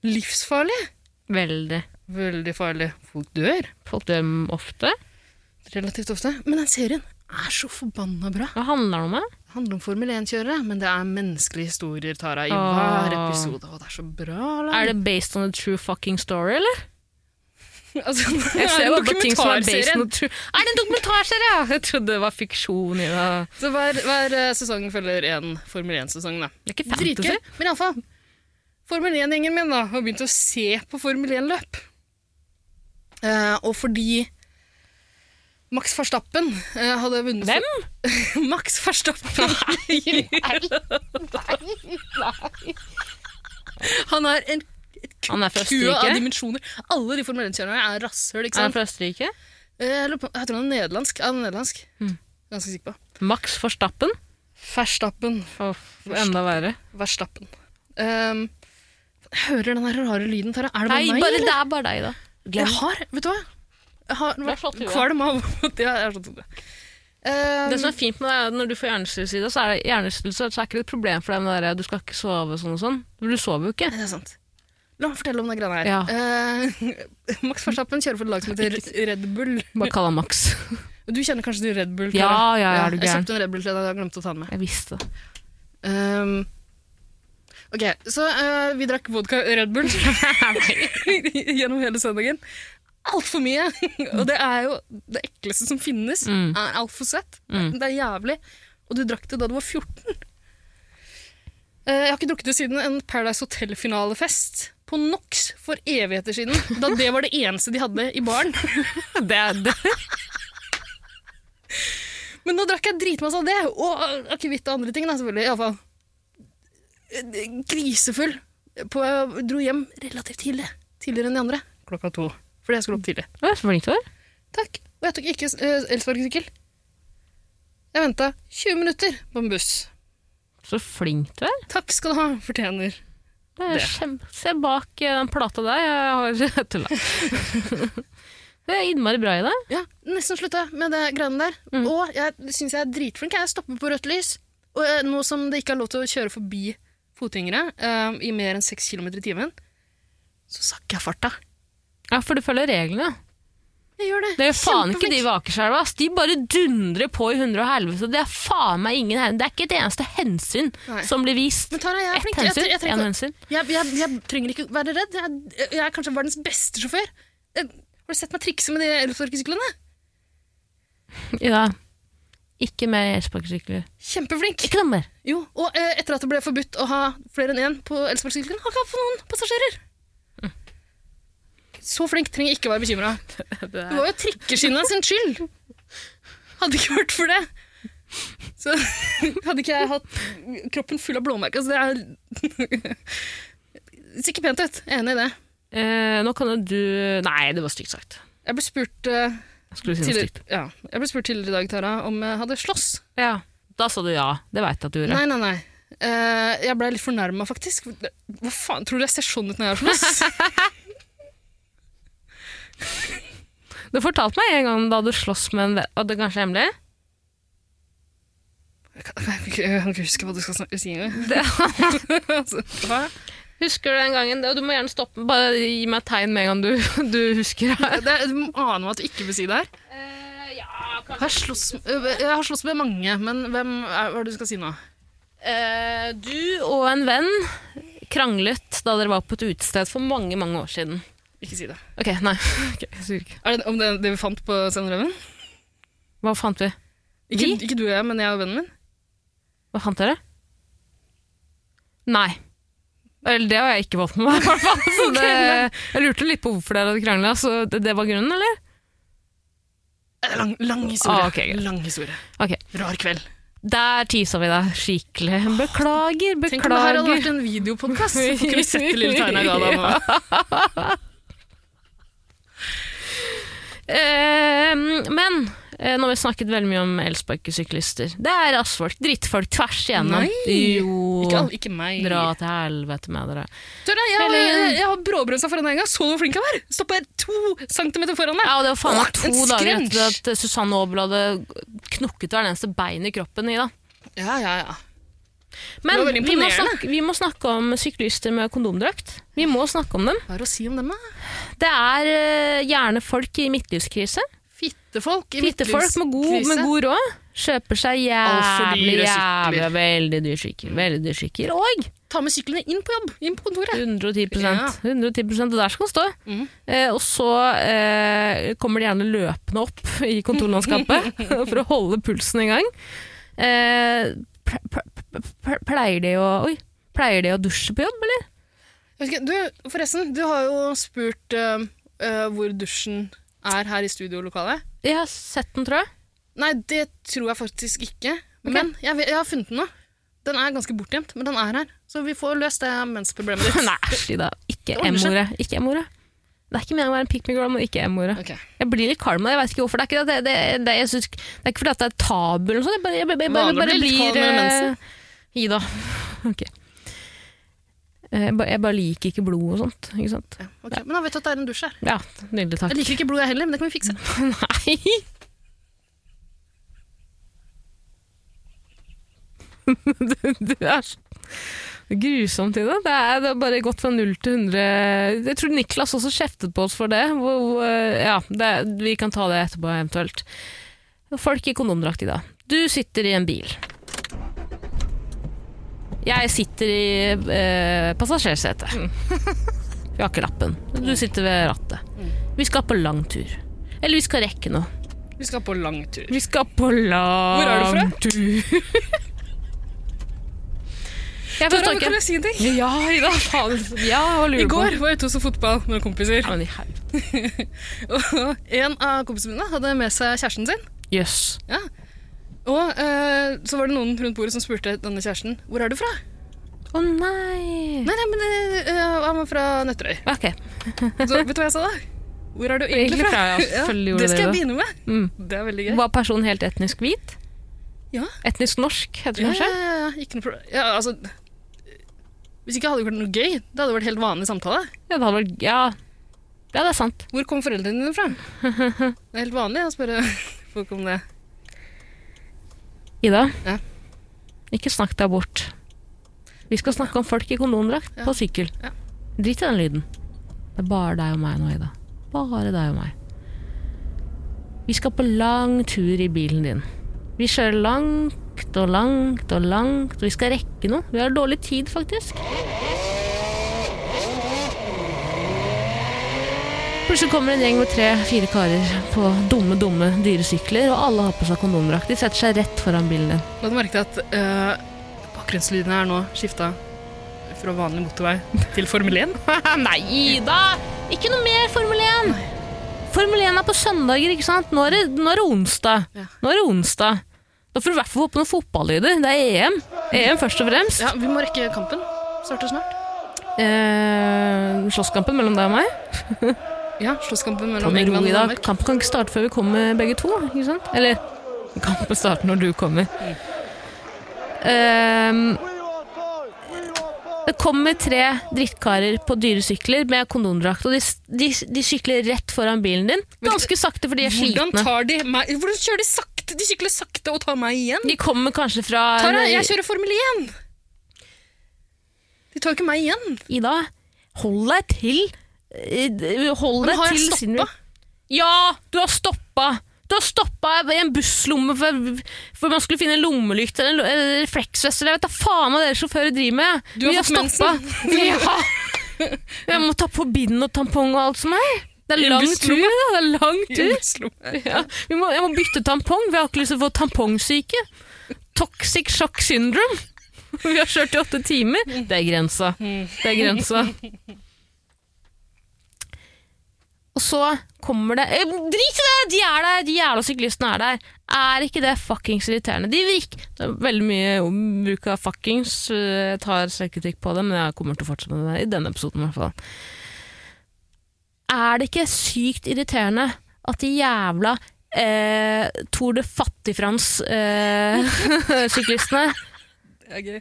Livsfarlig.
Veldig.
Veldig farlig. Folk dør
Folk dør ofte.
relativt ofte. Men den serien er så forbanna bra.
Hva handler det om? da?
Det handler om Formel 1-kjørere, men det er menneskelige historier, Tara, i
Åh.
hver episode. Å, det er så bra.
Er det based on a true fucking story, eller?
altså,
Jeg ser jo
det er en
bare på ting som er based
dokumentarserie.
on a true... Er det en dokumentarserie?! ja? Jeg trodde det var fiksjon i det.
Så hver, hver eh, sesong følger en Formel 1-sesong, da.
Det er ikke fantasy.
Dritgøy. Men iallfall. Formel 1-gjengen min da, har begynt å se på Formel 1-løp. Eh, og fordi Max Verstappen eh, hadde vunnet
Hvem?
Max Verstappen. Nei, Han er en
Han er fra
kue av
Østerrike.
dimensjoner. Alle de Formel 1-kjørerne er rasshøl, ikke
Er han
sant?
fra Mm. Østerrike?
Eh, Jeg, lurer på, jeg tror han er nederlandsk. Ja, han er nederlandsk. Ganske sikker på.
Max Forstappen?
Verstappen.
Åh, enda verre.
Verstappen. Um, jeg hører den der rare lyden, Tara. Er det bare
Nei,
meg?
bare
eller?
det er bare deg, da.
Jeg har, vet du hva? Jeg har
har slått
vært
huet.
kvalm av at jeg er sånn. Um,
Det som er fint med deg, er at når du får hjernerystelse, så er det hjernerystelse, så er ikke det et problem for deg med det der, du skal ikke sove og sånn og sånn. For du sover jo ikke.
det er sant. La meg fortelle om den greia her.
Ja.
Eh, Max Verstappen kjører for et lag som heter Red Bull.
Bare kall han Max.
Du kjenner kanskje til Red Bull?
Ja,
Tara?
ja, ja, er du
Jeg
gæren.
kjøpte en Red Bull til deg, jeg glemte å ta den med.
Jeg visste det.
Ehm, ok, så eh, vi drakk vodka Red Bull gjennom hele søndagen. Altfor mye! og det er jo det ekleste som finnes.
Mm.
er Altfor søtt.
Mm.
Det er jævlig. Og du drakk det da du var 14. Eh, jeg har ikke drukket det siden en Paradise Hotel-finalefest på NOx for evigheter siden. Da det var det eneste de hadde i baren.
Det er det.
Men nå drakk jeg dritmasse av det, og akevitt og andre ting, da, selvfølgelig. i alle fall. Eh, Grisefull. På, jeg dro hjem relativt tidlig. Tidligere enn de andre. Klokka to. Fordi jeg skulle opp tidlig.
Å, Så flink du var.
Takk. Og jeg tok ikke eh, elsparkesykkel. Jeg venta 20 minutter på en buss.
Så flink du er.
Takk skal du ha, fortjener.
Det er
Det.
kjem- Se bak eh, den plata der, jeg har tulla. Det er innmari bra i deg.
Ja, nesten slutta med det greiene der.
Mm.
Og jeg syns jeg er dritflink. Jeg stopper på rødt lys. Og eh, nå som det ikke er lov til å kjøre forbi fotgjengere eh, i mer enn 6 km i timen, så sakker jeg farta.
Ja, for du følger reglene.
Jeg gjør det.
Det gjør faen ikke de
Kjempeflink.
ved Akerselva. ass. De bare dundrer på i hundre og helvete. Det er faen meg ingen hen- Det er ikke et eneste hensyn
Nei.
som blir vist.
Men Tara, jeg er
Ett
flink. Jeg,
hensyn,
tre- jeg,
én
trenger ikke-
hensyn.
jeg, jeg, jeg trenger ikke være redd. Jeg, jeg, jeg er kanskje verdens beste sjåfør. Jeg, har du sett meg trikse med de elsparkesyklene?
Ja. Ikke med elsparkesykler.
Kjempeflink.
Ikke noe mer.
Jo, Og eh, etter at det ble forbudt å ha flere enn én på elsparkesykkelen, har ikke hatt for noen passasjerer.
Mm.
Så flink trenger jeg ikke være bekymra. Det var jo trikkeskinna sin skyld. Hadde ikke vært for det, så hadde ikke jeg hatt kroppen full av blåmerker. Så det er Det ser ikke pent ut. Jeg er enig i det.
Eh, nå kan jo du Nei, det var stygt sagt.
Jeg ble spurt eh,
Jeg skulle si noe stygt.
tidligere, ja, jeg ble spurt tidligere i dag, Tara, om jeg hadde slåss.
Ja. Da sa du ja. Det veit jeg at du gjorde.
Nei, nei, nei. Eh, jeg ble litt fornærma, faktisk. Hva faen, tror du jeg ser sånn ut når jeg har slåss?
Du fortalte meg en gang da du sloss med en venn Og det er kanskje hemmelig?
Jeg kan- jeg kan ikke- jeg kan ikke huske hva du skal snakke si engang. Altså, hva?
Husker du den gangen? Og du må gjerne stoppe. Bare gi meg et tegn med en gang du, du husker. det.
Det er- Du aner meg at du ikke vil si det her.
ja,
Jeg har slåss, øh, jeg har slåss med mange, men hvem er, hva er det du skal si nå?
Eh, du og en venn kranglet da dere var på et utested for mange, mange år siden.
Ikke si det.
Ok, nei. Ok, jeg sier ikke.
Er det om det, det vi fant på Senderøven?
Hva fant vi?
Ikke, ikke du og jeg, men jeg og vennen min?
Hva fant dere? Nei. Eller det har jeg ikke fått med meg, i hvert fall. Så det, jeg lurte litt på hvorfor dere hadde krangla, så det, det var grunnen, eller?
Eh, Lang, lang historie.
Ah, ok, greit.
lang historie.
Ok,
Rar kveld.
Der tisa vi deg skikkelig. Beklager,
Tenk om det her hadde vært
beklager.
en videopodkast, så får ikke vi sett det lille tegnet jeg ga deg nå.
Eh, men eh, nå har vi snakket veldig mye om elsparkesyklister. Det er rassfolk, drittfolk tvers igjennom.
Nei,
jo.
Ikke, alle- ikke meg.
Dra til helvete med dere.
Tørre, jeg, jeg,
Eller-
jeg har bråbremsa foran deg en gang. Så du hvor flink jeg var? Stoppa to centimeter foran deg.
Ja, og det var faen meg
Åh, en
to dager
skrensj!
etter at Susanne Aabel hadde knokket hver eneste bein i kroppen i da.
Ja, ja, ja.
Men
Det var veldig
vi må,
imponerende.
snakke, vi må snakke om syklister med kondomdrakt. Vi må snakke om dem.
Hva er det å si om dem, da?
Det er eh, gjerne folk i midtlivskrise.
Fittefolk i
Fittefolk med, god- med god råd. Kjøper seg
Altfor
jævlig,
dyre
jævlig,
sykler.
veldig dyr sykkel. Veldig dyr sykkel. Og
Ta med syklene inn på jobb. Inn på kontoret.
110
Ja.
110 og der skal den stå.
Mhm.
Eh, og så eh, kommer de gjerne løpende opp i kontorlandskapet for å holde pulsen i gang. Eh, ple- ple- ple- pleier de å Oi. Pleier de å dusje på jobb, eller?
Jeg vet ikke, Du, forresten, du har jo spurt eh, eh, hvor dusjen er her i studiolokalet.
Jeg har sett den, tror jeg.
Nei, det tror jeg faktisk ikke. Men jeg, vet- jeg har funnet den nå. Den er ganske bortgjemt, men den er her. Så vi får løst det mensproblemet ditt.
Nei, æsj, Ida. Ikke
Det ordner seg.
M-ordet. Ikke M-ordet. Det er ikke meningen å være en pick me girl, men ikke M-ordet.
Ok.
Jeg blir litt kald med det, jeg vet ikke hvorfor. Det er ikke, det, det, det, jeg synes, det er ikke fordi at det er tabu eller noe sånt. Jeg bare, jeg, bare- jeg, bare-
Vanlig å
bare
bli litt kald
blir
mellom
eh,
mensen.
Ida. Ok. Eh, Jeg bare, jeg bare liker ikke blod og sånt. Ikke sant?
Ja, ok. Men da vet du at det er en dusj her.
Ja, nydelig takk.
Jeg liker ikke blod, jeg heller, men det kan vi fikse.
Nei! du, du er så grusomt i det. Det er, det er bare gått fra null til 100 Jeg tror Niklas også kjeftet på oss for det. Hvor, hvor, ja, det vi kan ta det etterpå, eventuelt. Folk i kondomdrakt i dag. Du sitter i en bil. Jeg sitter i eh, passasjersetet. Vi har ikke lappen. Du sitter ved rattet. Vi skal på lang tur. Eller vi skal rekke noe.
Vi skal på lang tur.
Vi skal på lang
Hvor er du fra?
tur. jeg
Tara,
forstår
kan
ikke.
jeg si en ting?
Ja, Ida, faen. Ja, hva lurer
I
du på?
går var jeg ute og så fotball med noen kompiser.
Ja, men i helvete.
Og en av kompisene mine hadde med seg kjæresten sin.
Jøss.
Ja. Og eh, så var det noen rundt bordet som spurte denne kjæresten hvor er du fra.
Å nei.
Nei, nei, men eh, han var fra Nøtterøy.
Ok.
Så vet du hva jeg sa da? Hvor er du egentlig
Egentlig
fra?
fra, ja, selvfølgelig gjorde
det skal
jeg
jeg begynne med.
Mm.
Det er veldig gøy.
Var personen helt etnisk hvit?
Ja.
Etnisk norsk, heter det
Ja,
kanskje?
ja, ja, ja, ikke noe problem. Ja, altså, hvis ikke hadde det vært noe gøy, det hadde vært helt vanlig samtale.
Ja, det hadde vært Ja. Ja, det er sant.
Hvor kom foreldrene dine fra? Det er helt vanlig å spørre folk om det.
Ida,
Ja.
ikke snakk deg bort. Vi skal snakke om folk i kondomdrakt på sykkel.
Ja.
Drit i den lyden. Det er bare deg og meg nå, Ida. Bare deg og meg. Vi skal på lang tur i bilen din. Vi kjører langt og langt og langt, og vi skal rekke noe. Vi har dårlig tid, faktisk. Plutselig kommer en gjeng med tre-fire karer på dumme, dumme dyresykler, og alle har på seg kondomdrakt. De setter seg rett foran bilen din.
La du merke til at eh, bakgrunnslydene er nå skifta fra vanlig motorvei til Formel 1?
Nei da! Ikke noe mer Formel 1! Formel 1 er på søndager, ikke sant? Nå er det, nå er det onsdag.
Ja.
Nå er det onsdag. Da får du i hvert fall få på noen fotballyder. Det er E EM. EM først og fremst.
Ja, vi må rekke kampen. Starter snart.
Eh, slåsskampen mellom deg og meg.
Ja,
Ta
slåsskampen mellom
det med ro
England
i
og
dag.
Danmark.
Kampen kan ikke starte før vi kommer begge to. Ikke sant? Eller kampen starter når du kommer. Ehm, det kommer tre drittkarer på dyresykler med kondomdrakt, og de, de, de sykler rett foran bilen din. Ganske sakte, for de er
Hvordan
slitne.
tar de meg Hvordan kjører de sakte? De sykler sakte og tar meg igjen.
De kommer kanskje fra
Tara, jeg kjører Formel 1! De tar jo ikke meg igjen.
Ida, hold deg til eh, Hold
Men
deg
har
til
jeg
sin-
stoppa?
Ja, du har stoppa! Du har stoppa i en busslomme for, for man skulle finne en lommelykt eller en lo- eller refleksvest. eller Jeg vet da faen hva dere sjåfører driver med.
Du har
Vi
fått
stoppa. Ja. Jeg må ta på bind og tampong og alt som er. Det
I
er lang
en
tur.
busslomme.
Da. Det er lang tur.
Tur.
Ja. Vi må, jeg må bytte tampong. Vi har ikke lyst til å få tampongsyke. Toxic shock syndrome. Vi har kjørt i åtte timer. Det er grensa. Det er grensa. Og så kommer det eh, Drit i det! De er der! De jævla syklistene er der. Er ikke det fuckings irriterende? De virk... Det er veldig mye om bruk av fuckings. eh, Jeg tar selvkritikk på det, men jeg kommer til å fortsette med det i denne episoden. I hvert fall er det ikke sykt irriterende at de jævla eh, Tour de eh, Fattig-Frans-syklistene
Det er gøy.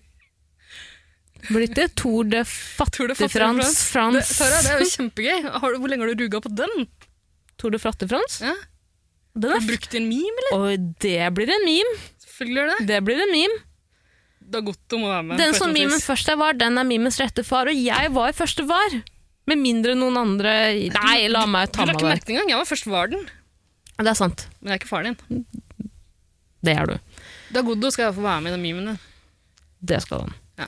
Blir det ikke Tour de
Tror du fatter det,
Fattig-Frans?
Det, Tara, det
Frans?
er jo kjempegøy. Har du, hvor lenge har du ruga på den?
Tour de Fattig-Frans?
Ja.
Den
Har
er
du brukt i en meme, eller?
f- Oi, det blir en meme!
Selvfølgelig er det.
Det blir en meme.
Dagotto må være med.
Den
på et
som
eller annet
memen
vis.
først er var, den er memens rette far, og jeg var første var. Med mindre noen andre Nei, la meg
Du
ta meg
la ikke
der.
merke det engang. Jeg var først var den,
Det er sant.
men jeg er ikke faren din.
Det er du.
Dagotto skal iallfall være med i den memen din.
Det skal han.
Ja.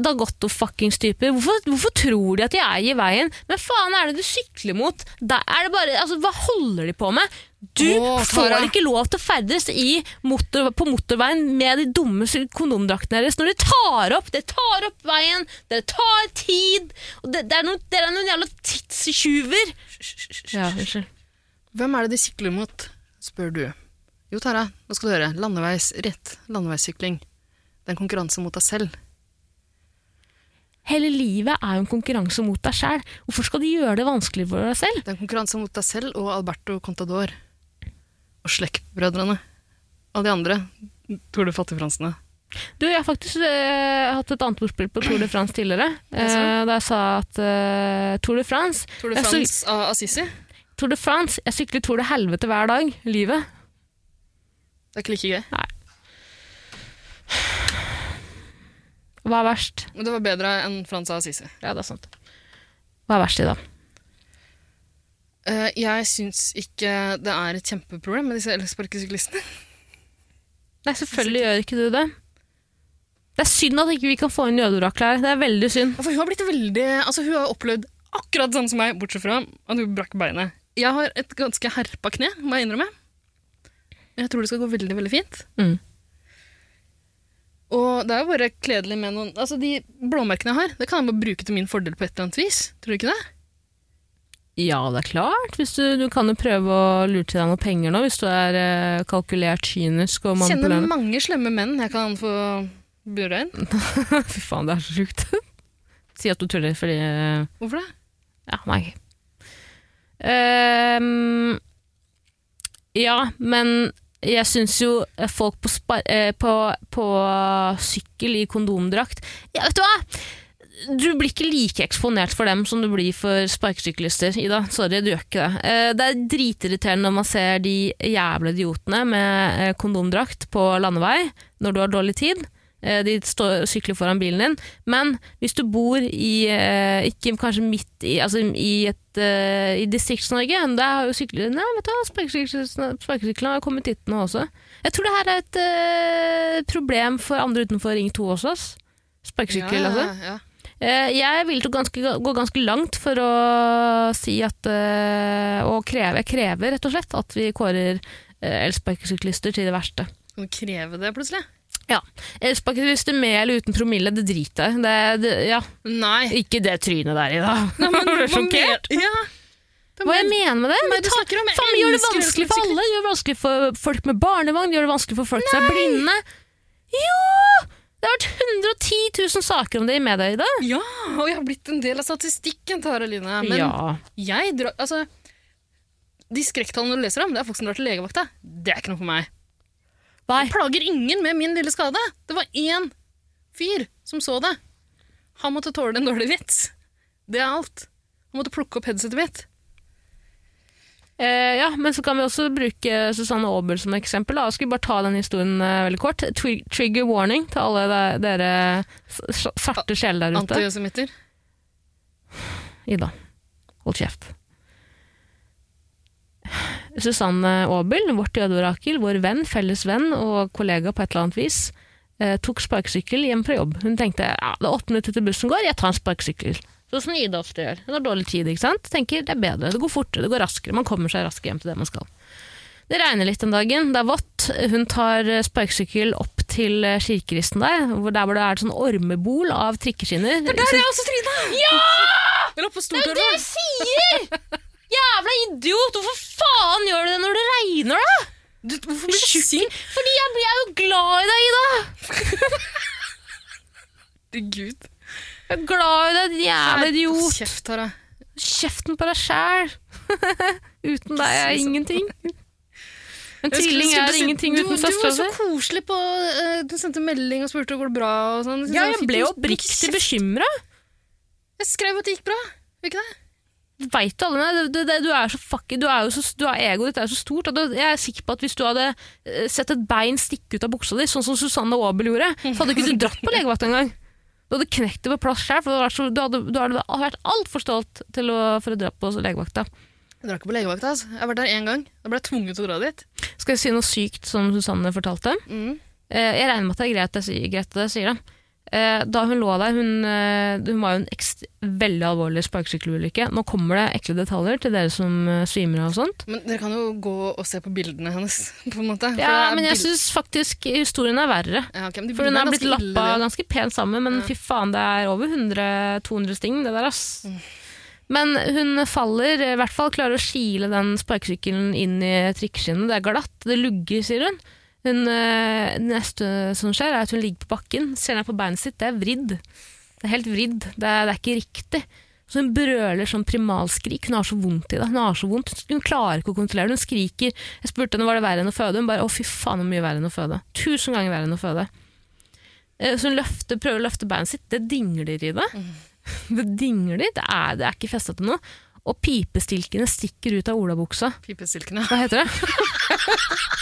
Dagotto-fuckings-typer. Hvorfor, hvorfor tror de at de er i veien? Men faen er det du sykler mot? Da er det bare, altså, hva holder de på med? Du
Å, Tara.
får ikke lov til å ferdes i motor, på motorveien med de dumme sy- kondomdraktene deres når de tar opp Dere tar opp veien, dere tar tid og det, det er noen, Dere er noen jævla tidstjuver. Ja, unnskyld.
Hvem er det de sykler mot, spør du. Jo, Tara, nå skal du høre. Landeveis rett. Landeveissykling. Det er en konkurranse mot deg selv.
Hele livet er jo en konkurranse mot deg sjæl. Hvorfor skal de gjøre det vanskelig for deg selv?
Det er en konkurranse mot deg selv og Alberto Contador. Og slektbrødrene. Og de andre. Tour de Fattigfransene.
Du, jeg har faktisk eh, hatt et annet ordspill på Tour de France tidligere. Eh, da jeg sa at eh, Tour de France
Tour
de
de
Jeg
France av Assisi.
Tour de France, jeg sykler Tour de helvete hver dag. Livet.
Det er ikke like gøy.
Hva er verst?
Men det var bedre enn Frans av Assisi.
Ja, det er sant. Hva er verst i dag?
Eh, jeg syns ikke det er et kjempeproblem med disse elsparkesyklistene.
Nei, selvfølgelig gjør ikke du det. Det er synd at ikke vi kan få inn jødeoraklet her. Det er veldig synd.
Ja, For hun har blitt veldig Altså, hun har opplevd akkurat det samme som meg, bortsett fra at hun brakk beinet. Jeg har et ganske herpa kne, må jeg innrømme. Jeg tror det skal gå veldig, veldig fint.
Mm.
Og det er jo bare kledelig med noen Altså, de blåmerkene jeg har, det kan jeg bare bruke til min fordel på et eller annet vis. Tror du ikke det?
Ja, det er klart. Hvis du, du kan jo prøve å lure til deg noen penger nå, hvis du er eh, kalkulert kynisk og
Kjenner
manipulerende.
mange slemme menn jeg kan få bura inn.
Fy faen, det er så sjukt. si at du tuller fordi eh,
Hvorfor det?
Ja, nei. Ehm, ja, men jeg syns jo folk på, spar eh, på, på sykkel i kondomdrakt ja, Vet du hva? Du blir ikke like eksponert for dem som du blir for sparkesyklister, Ida. Sorry, du gjør ikke det. Eh, det er dritirriterende når man ser de jævla idiotene med eh, kondomdrakt på landevei når du har dårlig tid. Eh, De står og sykler foran bilen din. Men hvis du bor i eh, Ikke kanskje midt i Altså i, et, eh, i Distrikts-Norge, der har jo sykler Nei, vet du hva, sparkesyklene sparkesyklene har kommet hit nå også. Jeg tror det her er et eh, problem for andre utenfor Ring 2 også. ass. Sparkesykkel,
ja,
altså.
ja.
Eh, Jeg vil til å ganske, gå ganske langt for å si at eh, Og kreve, jeg krever rett og slett at vi kårer eh, elsparkesyklister til det verste.
Kan du kreve det plutselig?
Ja. Elsparkesyklister med eller uten promille, det driter jeg i. Det- det- Ja.
Nei.
Ikke det trynet der i, da. Du er sjokkert.
Ja. Det
Hva
må-
jeg mener med det?
Nei,
De
du
tar-
snakker om
Faen, vi gjør det
elsker
vanskelig for
elsparkesykler.
alle. Gjør det vanskelig for folk med barnevogn, gjør det vanskelig for folk som er blinde. Jo! Det har vært 110 000 saker om det i media i dag.
Ja, og jeg har blitt en del av statistikken, Tara Line. Men
ja.
jeg drar Altså, de skrekktallene du leser om, det er folk som drar til legevakta. Det er ikke noe for meg.
Nei.
Jeg plager ingen med min lille skade. Det var én fyr som så det. Han måtte tåle en dårlig vits. Det er alt. Han måtte plukke opp headsetet mitt.
Eh, ja, men så kan vi også bruke Susanne Aabel som eksempel. Da. Skal vi bare ta den historien eh, veldig kort? Tri trigger warning til alle de- dere s- s- svarte sjeler der ute.
Antisemitter.
Ida, hold kjeft. Susanne Aabel, vårt jødeorakel, vår venn, felles venn og kollega på et eller annet vis, eh, tok sparkesykkel hjem fra jobb. Hun tenkte ja, det er åtte minutter til bussen går, jeg tar en sparkesykkel. Sånn som Ida ofte gjør. Hun har dårlig tid, ikke sant? Tenker det er bedre, det går fortere, det går raskere. Man kommer seg raskere hjem til det man skal. Det regner litt den dagen, det er vått. Hun tar eh, sparkesykkel opp til eh, kirkeristen der, hvor der hvor det er et sånn ormebol av trikkeskinner.
Der er også Trine! Ja! Eller oppe på Stortorget.
sier! Jævla idiot! Hvorfor faen gjør du det når det regner, da?
Du, hvorfor blir du sint?
Fordi jeg blir jo glad i deg, Ida!
Gud.
Jeg er glad i deg, din jævla idiot.
Kjeft, Tara.
Kjeften på deg sjæl. Uten deg er jeg ingenting. En
Jeg skulle-
tvilling
skulle
er
si-
ingenting
du-
uten søstera
Du
si.
var så koselig på eh, Du sendte melding og spurte går det bra. Og sånn.
Ja, jeg
fikk
ble
jo
oppriktig
kjeft.
bekymra.
Jeg skrev at det gikk bra. Gjorde Ikke det?
Veit du alle det? det- det- Du er så fucking Du er jo så du er egoet ditt er jo så stort. At du- jeg er sikker på at hvis du hadde eh, sett et bein stikke ut av buksa di, sånn som Susanne Aabel gjorde, så hadde ikke du dratt på legevakta engang. Du hadde knekt det på plass sjøl, for du hadde vært så- du hadde, du hadde vært altfor stolt til å, for å dra på legevakta.
Jeg drar ikke på legevakta. Altså. Jeg har vært der én gang. Da ble jeg tvunget til å dra dit.
Skal jeg si noe sykt som Susanne fortalte?
Mm.
Eh, Jeg regner med at det er greit at jeg sier- greit at jeg sier det. Eh, Da hun lå der, hun, eh, hun var jo en ekst, veldig alvorlig sparkesykkelulykke. Nå kommer det ekle detaljer til dere som eh, svimer av og sånt.
Men dere kan jo gå og se på bildene hennes. på en måte. For det
Ja,
er
men jeg
bild-
syns faktisk historien er verre.
ja, ok, men de
For hun
bildene
har
er
blitt
ganske ille,
lappa
de.
ganske pent sammen, men fy faen, det er over 100-200 sting, det der, ass.
Mm.
Men hun faller, i hvert fall klarer å kile den sparkesykkelen inn i trikkeskinnet. Det er glatt, det lugger, sier hun. hun eh, det neste som skjer, er at hun ligger på bakken, ser ned på beinet sitt, det er vridd. Det er helt vridd, det er, det er ikke riktig. Så hun brøler sånn primalskrik, hun har så vondt i det. Hun har så vondt, hun klarer ikke å kontrollere det. Hun skriker. Jeg spurte henne var det verre enn å føde, hun bare å fy faen hvor mye verre enn å føde. Tusen ganger verre enn å føde. Eh, Så hun løfter, prøver å løfte beinet sitt, det dingler i det.
Mm.
Det dingler, det er, det er ikke festet til noe. Og pipestilkene stikker ut av olabuksa.
Pipestilkene.
Hva heter det?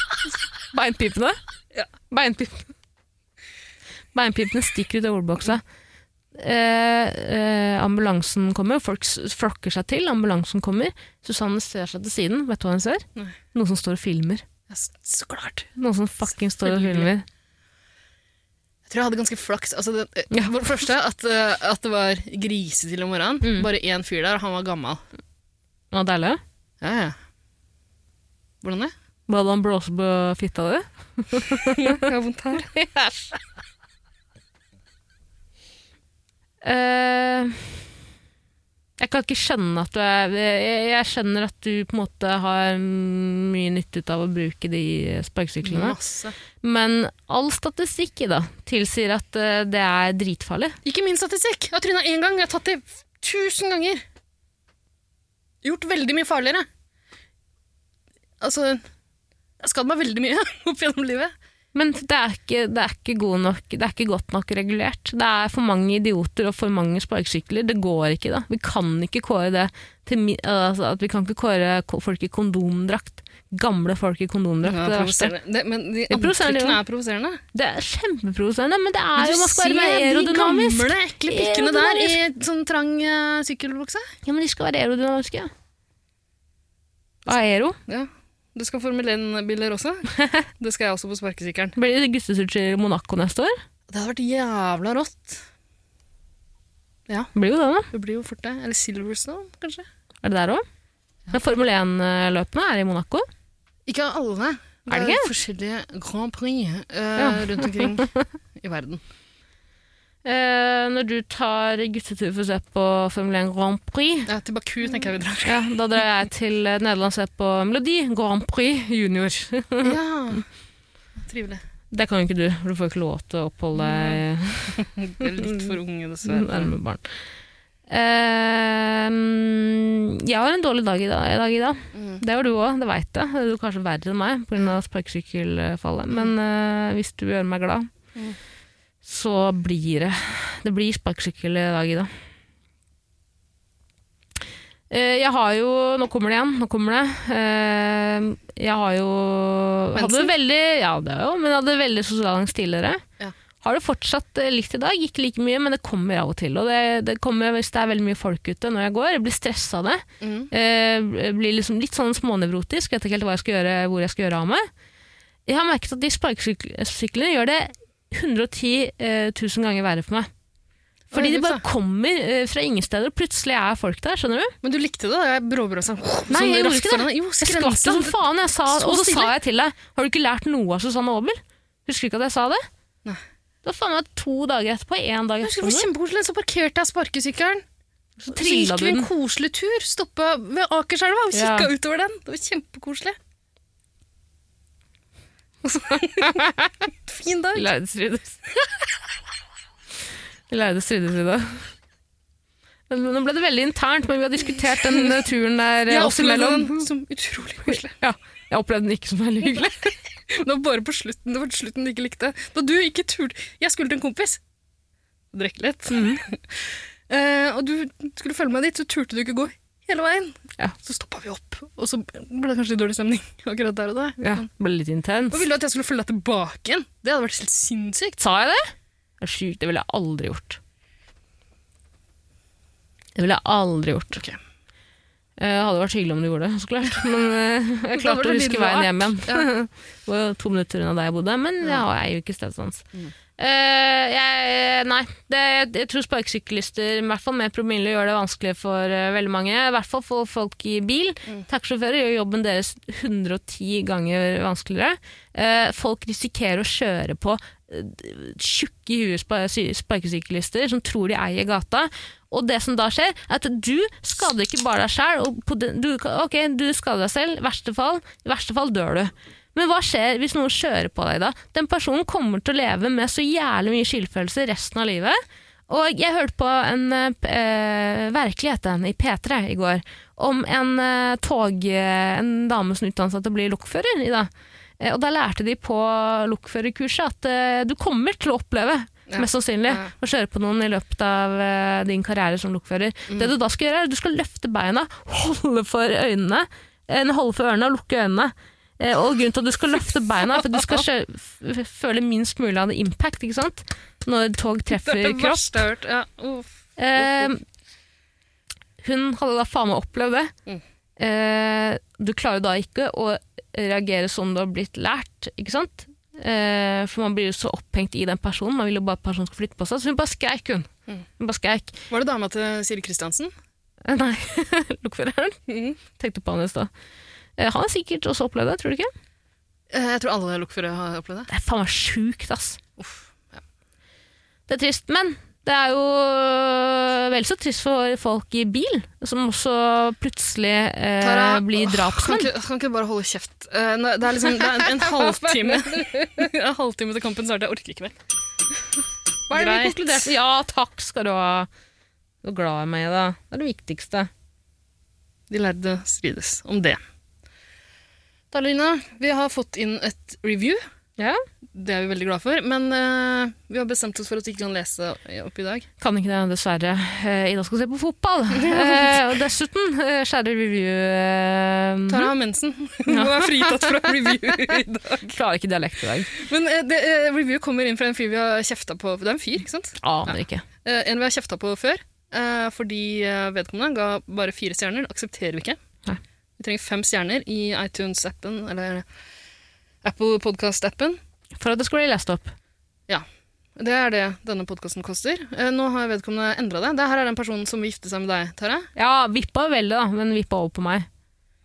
Beinpipene?
Ja.
Beinpipene. Beinpipene stikker ut av ordboksa. Eh, eh, ambulansen kommer, folk s- flokker seg til. Ambulansen kommer. Susanne ser seg til siden. Vet du hva hun ser?
Nei.
Noen som står og filmer.
Ja, s- så klart.
Noen som fucking står og
Selvfølgelig.
filmer.
Jeg tror jeg hadde ganske flaks. Altså, det, eh,
Ja.
For det første at, eh, at det var grisetidlig om morgenen.
Mm.
Bare én fyr der, og han var gammel.
Nå, deilig.
Ja, ja. Hvordan det?
Var det han blåser på fitta di?
Jeg har vondt her.
Eh, jeg kan ikke skjønne at du er jeg, jeg skjønner at du på en måte har mye nytte ut av å bruke de sparkesyklene.
Masse.
Men all statistikk i dag tilsier at eh, det er dritfarlig.
Ikke min statistikk. Jeg har tryna én gang. Jeg har tatt det tusen ganger. Gjort veldig mye farligere. Altså Jeg har skadd meg veldig mye opp gjennom livet.
Men det er, ikke, det, er ikke god nok, det er ikke godt nok regulert. Det er for mange idioter og for mange sparkesykler. Det går ikke, da. Vi kan ikke kåre det til mi- altså, at Vi kan ikke kåre ko- folk i kondomdrakt gamle folk i kondomdrakt.
Ja,
det, er det, verste.
provoserende. det, men de
er provoserende,
antikkene
jo.
er provoserende.
det er kjempeprovoserende, men det
Men
er
du
jo, man skal være mer
ser de
aerodynamisk.
gamle, ekle pikkene der i sånn trang eh, sykkelbukse.
Ja, men de skal være aerodynamiske. Aero?
Ja. Du skal formele en biler også. Det skal jeg også på sparkesykkelen.
Blir det guttesutsjir i Monaco neste år?
Det hadde vært jævla rått.
Blir jo det, da.
Det blir jo fort det. Eller Silverstone, kanskje.
Er det der òg? Men Formel 1-løpene er i Monaco.
Ikke alle.
Er det ikke?
forskjellige Grand Prix eh,
Ja.
rundt omkring i verden.
Eh, når du tar guttetur for å se på Formel 1 Grand Prix,
Ja, til Baku tenker jeg vi drar.
ja, da drar jeg til eh, Nederland og ser på Melodi Grand Prix Junior.
Ja. Trivelig.
Det kan jo ikke du, for du får jo ikke lov til å oppholde deg
Det er litt for unge, dessverre.
nærme barn. Eh, mm, jeg har en dårlig dag i dag. I dag, i dag.
Mm.
Det har du òg, det veit jeg. Du er kanskje verre enn meg pga. sparkesykkelfallet. Men eh, hvis du gjør meg glad,
Mm.
så blir det Det blir sparkesykkel i dag, Ida. Eh, Jeg har jo Nå kommer det igjen. Nå kommer det. Eh, Jeg har jo Hadde
Mensen?
det veldig Ja, det er jo, men jeg hadde veldig sosialangst tidligere.
Ja.
Har det fortsatt eh, litt i dag. Ikke like mye, men det kommer av og til. Og det, det kommer hvis det er veldig mye folk ute når jeg går. Jeg blir stressa av det.
Mm.
Eh, blir liksom litt sånn smånevrotisk, vet ikke helt hva jeg skal gjøre, hvor jeg skal gjøre av meg. Jeg har merket at de sparkesyklene gjør det 110 eh, 000 ganger verre for meg. Fordi
Oi,
de bare
ups,
kommer eh, fra ingen steder, og plutselig er folk der, skjønner du?
Men du likte det? da? Jeg bråbrød sånn.
Nei, jeg gjorde ikke det.
Jo,
Jeg skvatt
skrensa.
som faen, jeg sa,
Så
og så sa
stille.
jeg til deg, har du ikke lært noe av Susanne Aabel? Husker du ikke at jeg sa det?
Nei.
Det var faen meg to dager etterpå, én dag
Jeg husker det
etterpå,
var kjempekoselig. Så parkerte jeg sparkesykkelen.
så
Så gikk
trilla du
vi en
den.
koselig tur. Stoppa ved Akerselva og
Ja.
kikka utover den. Det var kjempekoselig. Og så- fin dag.
Leide strides. Leide strides i dag. Men Nå ble det veldig internt, men vi har diskutert den eh, turen der eh,
Jeg
oss
opplevde
imellom.
den som utrolig koselig.
Ja, jeg opplevde den ikke som veldig hyggelig.
Det var bare på slutten det var slutten du ikke likte. Da du ikke turte Jeg skulle til en kompis. Drikke litt.
Mhm.
Eh, og du skulle følge meg dit, så turte du ikke gå hele veien.
Ja.
Så stoppa vi opp, og så ble det kanskje litt dårlig stemning akkurat der og da.
Ja, det ble litt intens.
Og ville du at jeg skulle følge deg tilbake igjen? Det hadde vært helt sinnssykt.
Sa jeg det? Det er sjukt, det ville jeg aldri gjort. Det ville jeg aldri gjort.
Ok.
Eh, Det hadde vært hyggelig om du gjorde det, så klart. Men eh, jeg
Da var
klarte å
det
huske
litt
veien
rart.
hjem igjen. Det var jo to minutter unna der jeg bodde, men jeg har jo ikke stedsans.
Mm.
Eh, jeg, nei, det, jeg tror sparkesyklister, i hvert fall med promille, gjør det vanskelig for eh, veldig mange. I hvert fall for folk i bil.
Mm.
Taxisjåfører gjør jobben deres 110 ganger vanskeligere. Eh, folk risikerer å kjøre på eh, tjukke i huet spa- sy- sparkesyklister som tror de eier gata. Og det som da skjer, er at du skader ikke bare deg sjæl. Du, ok, du skader deg selv, i verste fall, i verste fall dør du. Men hva skjer hvis noen kjører på deg da? Den personen kommer til å leve med så jævlig mye skyldfølelse resten av livet. Og jeg hørte på en eh, p- eh, Verkelighet den, i P3 i går om en eh, tog, eh, en dame som utdannet seg til å bli lokfører i dag. Eh, og da lærte de på lokførerkurset at eh, du kommer til å oppleve,
Ja.
mest sannsynlig,
Ja.
å kjøre på noen i løpet av eh, din karriere som lokfører.
Mm.
Det du da skal gjøre, er at du skal løfte beina, holde for øynene, eh, holde for ørene og lukke øynene. Eh, og grunnen til at du skal løfte beina, er for at du skal kjø- f- f- føle minst mulig av det impact, ikke sant? Når tog treffer kropp.
verste jeg har hørt. Ja, uff.
Eh, hun hadde da faen meg opplevd det.
Mm.
Eh, du klarer da ikke å reagere som du har blitt lært, ikke sant? Eh, for man blir jo så opphengt i den personen. Man vil jo bare at personen skal flytte på seg. Så hun bare skreik, hun.
Mm.
Hun bare skreik.
Var det dama til Siri Kristiansen?
Eh, Nei, lokføreren.
Mm.
Tenkte på han i stad. Eh, han har sikkert også opplevd det, tror du ikke?
Eh, Jeg tror alle lokførere har opplevd det.
Det er faen meg sjukt, ass.
Uff. Ja.
Det er trist, men det er jo vel så trist for folk i bil, som også plutselig eh,
Tara,
blir
åh,
drapsmenn.
Kan ikke, kan ikke du bare holde kjeft? Eh, nå- det er liksom det er en, en halvtime En halvtime til kampen starter. Jeg orker ikke mer.
Hva er det vi
Greit.
konkluderte? Ja, takk skal du ha. Du er glad i meg, da. Det er det viktigste.
De lærde strides om det. Darlina, vi har fått inn et review
Ja,
Det er vi veldig glad for. Men eh, vi har bestemt oss for at vi ikke kan lese opp i dag.
Kan ikke det, dessverre. Eh, Ida skal se på fotball. Eh, og dessuten, eh, kjære review eh,
Tara har mensen. Hun er fritatt fra review i dag.
Klarer ikke dialekt i dag.
Men eh, det, eh, review kommer inn fra en fyr vi har kjefta på. Det er en fyr, ikke sant?
Aner ikke.
Eh, en vi har kjefta på før. eh, fordi eh, vedkommende ga bare fire stjerner. Det aksepterer vi ikke.
Nei.
Vi trenger fem stjerner i iTunes-appen eller Apple Podcast-appen.
For at det skulle bli lest opp.
Det er det denne podkasten koster. Eh, nå har vedkommende endra det. Det her er den personen som vil gifte seg med deg, Tara.
Ja, vippa veldig, da, men vippa over på meg.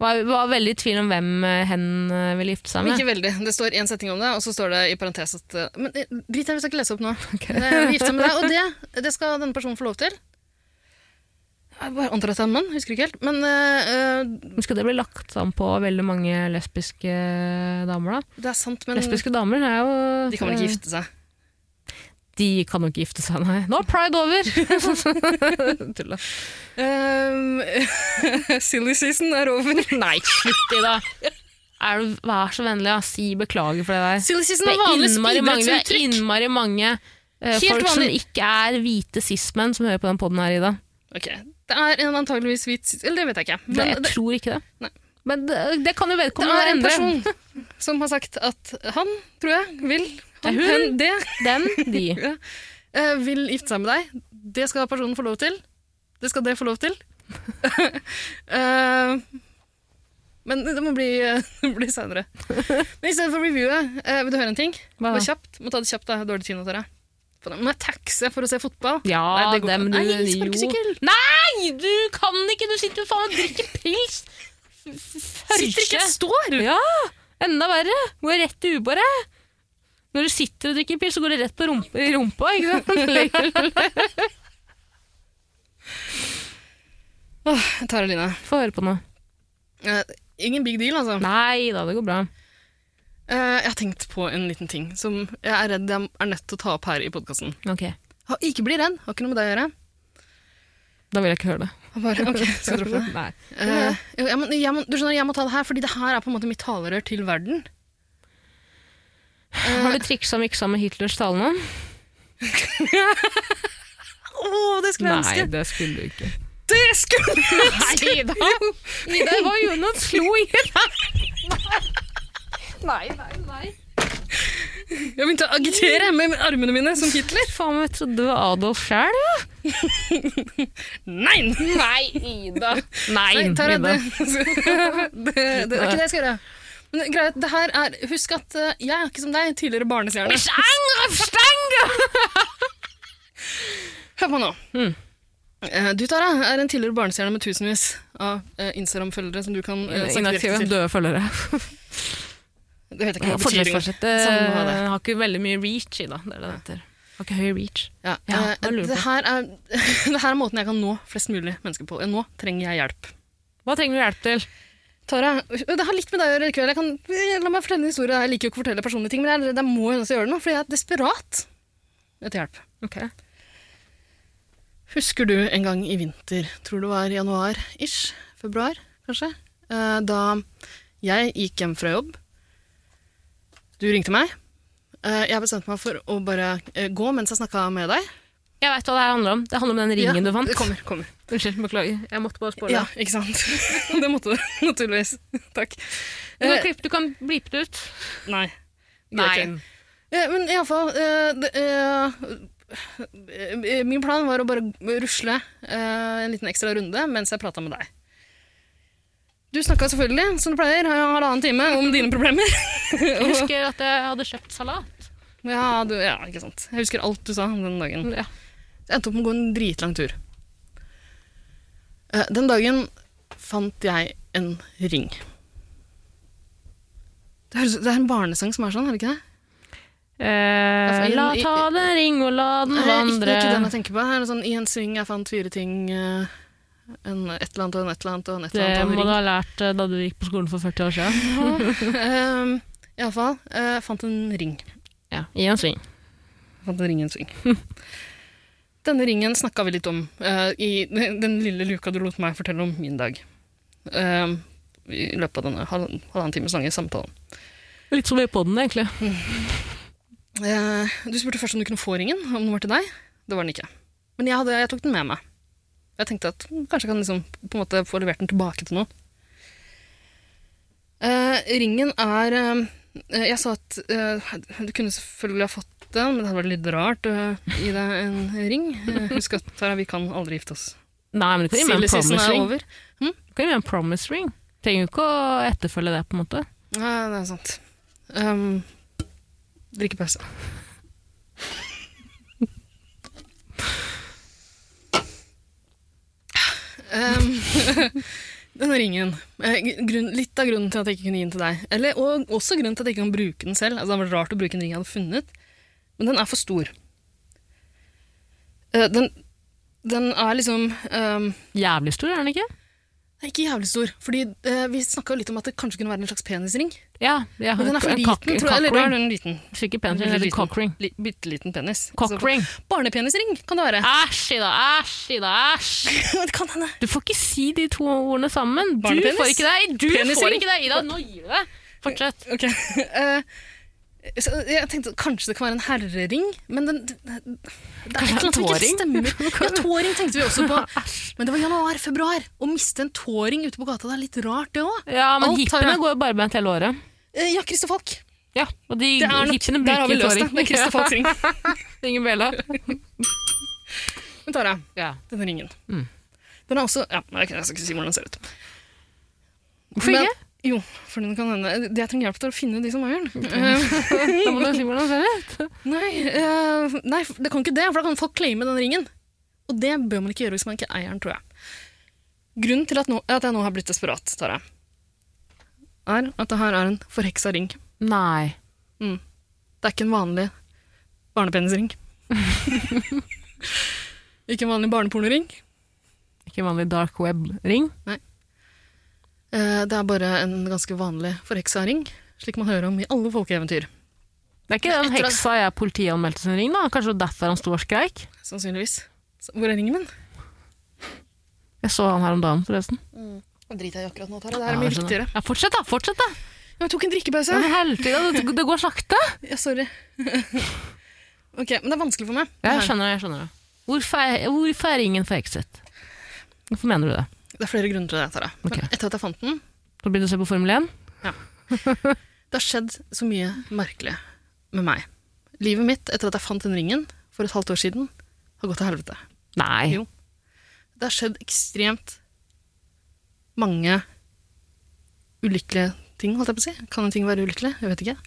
Var, var veldig i tvil om hvem eh, hen eh, ville gifte seg med.
Ikke veldig. Det står én setning om det, og så står det i parentes at eh, Men eh, drit i det, vi skal ikke lese opp nå.
Ok.
Det er gifte med deg, og det, det skal denne personen få lov til. Jeg bare antar at det er en mann, husker ikke helt. Men eh, eh,
Men Skal det bli lagt an på veldig mange lesbiske eh, damer, da?
det er sant, men
lesbiske damer er jo eh,
de kan vel ikke gifte seg?
De kan jo ikke gifte seg, nei. Nå er pride over! Tulla.
Eh, Ehm, silly season er over.
Nei, slutt, Ida! Er du, vær så vennlig, ja. si beklager for det der.
Silly season
Det
er
er
vanlig
innmari mange, det er
speedrettsuttrykk.
innmari mange eh,
Helt
folk som
vanlig.
ikke er hvite cis-menn som hører på den poden her, Ida.
Ok, Det er en antageligvis hvit Eller det vet jeg ikke.
Det,
Men
jeg
det,
tror ikke det.
Nei.
Men det, det kan jo
det
vedkommende
er en
endre.
person som har sagt at han, tror jeg, vil han,
Det er hun.
hen, det
Den, de.
Ja. Eh, vil gifte seg med deg. Det skal personen få lov til. Det skal det få lov til. Eh, men det må bli, det blir seinere. Men i stedet for reviewet, eh, vil du høre en ting?
Hva
Bare
da?
kjapt. Må ta det kjapt, da. Dårlig tid nå, Tara. Faen, Må jeg taxe for å se fotball?
Ja,
Nei, det går
dem
ikke.
du
Nei,
jo.
sparkesykkel!
Nei, du kan ikke! Du sitter jo faen og drikker pils!
Sitter ikke,
Først.
står!
Ja, enda verre. Går rett i ubåret. Når du sitter og drikker pils, så går det rett på rumpa, i rumpa, ikke sant?
Åh, Tara Line.
Få høre på nå.
eh, ingen big deal, altså.
Nei da, det går bra.
Eh, jeg har tenkt på en liten ting som jeg er redd jeg er nødt til å ta opp her i podkasten.
Ok,
Ikke bli redd, har ikke noe med deg å gjøre.
da vil jeg ikke høre det.
Bare, ok, skal jeg droppe det?
Nei.
Eh, jo, jeg må, jeg må, du skjønner, jeg må ta det her, fordi det her er på en måte mitt talerør til verden. Eh,
Har du triksa og miksa med Hitlers tale nå?
Å, det
det skulle du ikke.
Det skulle jeg ønske!
Nei, Ida! Ida, hva gjorde hun? Hun slo ingen! Nei, nei, nei.
Jeg begynte å agitere med med armene mine som Hitler.
Faen, jeg trodde det var Adolf sjæl, ja.
Nei!
Nei, Ida. Nei,
Nei, Tara,
Ida.
det, det, det, det er ikke det jeg skal gjøre. Men greit, det her er, Husk at eh, jeg er ikke som deg, tidligere barnestjerne. Hør på nå.
Mm.
Eh, Du, Tara, er en tidligere barnestjerne med tusenvis av eh, Instagram-følgere som du kan uh,
Inaktive,
sakte
døde følgere.
Det vet jeg ikke hva betyr engang.
Fortsett.
Samme hva Sånn det er.
eh, Har ikke veldig mye reach, Ida. Det er det det heter. Har ikke høy reach.
Ja,
Ja,
eh,
hva lurer du
det,
på?
her er, det her er måten jeg kan nå flest mulig mennesker på. Nå trenger jeg hjelp.
Hva trenger du hjelp til?
Tara, det har litt med deg å gjøre i kveld. Jeg kan, eh, la meg fortelle en historie. Jeg liker jo ikke å fortelle personlige ting, men jeg, er redd jeg må jo også gjøre det nå, fordi jeg er desperat etter hjelp. Husker du en gang i vinter, tror det var januar-ish, februar kanskje, eh, da jeg gikk hjem fra jobb. Du ringte meg. Eh, Jeg bestemte meg for å bare eh, gå mens jeg snakka med deg.
Jeg veit hva det her handler om. Det handler om den ringen
Ja,
du fant.
Det kommer, kommer.
Unnskyld, beklager. Jeg måtte bare spåle.
Ja, ikke sant? det måtte du, naturligvis. Takk.
Du kan,
Eh,
klippe, du kan blipe det ut.
nei. Greit, ja. Eh, men iallfall Min plan var å bare rusle eh, en liten ekstra runde mens jeg prata med deg. Du snakka selvfølgelig, som du pleier, i halvannen time om dine problemer.
Jeg husker at jeg hadde kjøpt salat.
ja, du, ja, ikke sant. Jeg husker alt du sa den dagen.
Ja.
Jeg endte opp med å gå en dritlang tur. Eh, Den dagen fant jeg en ring. Det, høres, det er en barnesang som er sånn, er det ikke det?
Eh, la ta den ring og la den
Nei, ikke,
vandre.
ikke den jeg tenker på. Det er noe sånn, I en sving jeg fant fire ting. eh, En et eller annet og en et eller annet og en et
Det
eller
må du
annet. Og
ha lært eh, da du gikk på skolen for 40 år siden.
en ring. Iallfall. Jeg eh, fant en ring.
Ja, I en sving.
Jeg fant en ring i en sving. Denne ringen snakka vi litt om eh, i den lille luka du lot meg fortelle om min dag. Eh, I løpet av denne halv- halvannen times lange samtalen.
Litt som vi er på den, egentlig.
Eh, Du spurte først om du kunne få ringen, om den var til deg. Det var den ikke. Men jeg, hadde, jeg tok den med meg. Jeg tenkte at mm, kanskje jeg kan liksom, på en måte få levert den tilbake til noen. Eh, ringen er eh, Jeg sa at eh, du kunne selvfølgelig ha fått den, men det hadde vært litt rart å gi deg en ring. Eh, husk at Tara, vi kan aldri gifte oss.
Nei, men du kan gi meg
Silly
en
season
promise
er
ring.
over.
Du kan gi meg en promise ring. Trenger jo ikke å etterfølge det, på en måte.
Ja, det er sant. Um, drikkepause. um, denne ringen eh, grunn, Litt av grunnen til at jeg ikke kunne gi den til deg, eller, og også grunnen til at jeg ikke kan bruke den selv altså, Det hadde vært rart å bruke en ring jeg hadde funnet, men den er for stor. Eh, den, den er liksom um,
Jævlig stor, er den ikke?
den er Ikke jævlig stor, fordi eh, vi snakka litt om at det kanskje kunne være en slags penisring.
Ja. ja
Men den er for
en
liten,
cock- en
tror jeg. Eller da er
cockring.
den liten.
Ikke penis, den heter
Liten.
cockring.
Li, bitte liten penis.
Cockring.
Altså, barnepenisring kan det være.
Æsj, Ida, æsj, Ida, æsj!
det kan hende.
Du får ikke si de to ordene sammen. Du
Barnepenis?
får ikke det, du
Penisring?
får ikke det, Ida! Nå gir du deg! Fortsett.
Ok. eh, så jeg tenkte at kanskje det kan være en herrering, men den, det, det er et
Kanskje
eller annet som ikke
tåring?
stemmer. Ja, tåring tenkte vi også på. Men det var januar-februar. Å miste en tåring ute på gata, det er litt rart, det òg.
Ja, men
Alt har
hippiene
jeg.
går jo barbeint hele året.
ja, Christer Falk.
Ja, og de
Det er nok,
hippiene
der har vi
bruker
løst det.
tåring.
Det er Christer Falks ring.
Ingen bjella.
Men Tara,
Ja.
denne ringen
Mm.
Den er også Ja, jeg skal ikke si hvordan den ser ut.
Hvorfor
Men-
ikke?
Jo, for den kan hende Det jeg trenger hjelp til å finne de som eier den. Eh,
Da må du si hvordan det ser ut.
nei, eh, nei, det kan ikke det, for da kan folk claime den ringen. Og det bør man ikke gjøre hvis man ikke eier den, tror jeg. Grunnen til at, nå, at jeg nå har blitt desperat, Tara, er at det her er en forheksa ring.
Nei.
Det er ikke en vanlig barnepenisring. ikke en vanlig barnepornoring.
Ikke vanlig dark web-ring.
Eh, det er bare en ganske vanlig forheksa ring, slik man hører om i alle folkeeventyr.
Det er ikke den
Etter at-
heksa jeg politianmeldte sin ring, da. Kanskje det var derfor han sto og skreik.
Sannsynligvis. Så, hvor er ringen min?
Jeg så han her om dagen, forresten.
Det driter jeg i akkurat Mm. nå, Tara. Det
Ja,
er mye
jeg skjønner.
viktigere.
Ja, fortsett, da! fortsett da.
Jeg tok en drikkepause.
Men helvete, da, det, det går sakte!
Ja, sorry. ok, men det er vanskelig for meg.
Ja, jeg
Det her.
skjønner det. jeg skjønner det. Hvorfor er, hvorfor er ingen forhekset? Hvorfor mener du det?
Det er flere grunner til det, Tara. Men
Ok.
etter at jeg fant den,
Så begynner du å se på Formel 1?
det har skjedd så mye merkelig med meg. Livet mitt etter at jeg fant den ringen for et halvt år siden, har gått til helvete.
Nei.
Jo. Det har skjedd ekstremt mange ulykkelige ting, holdt jeg på å si. Kan en ting være ulykkelig? Jeg vet ikke.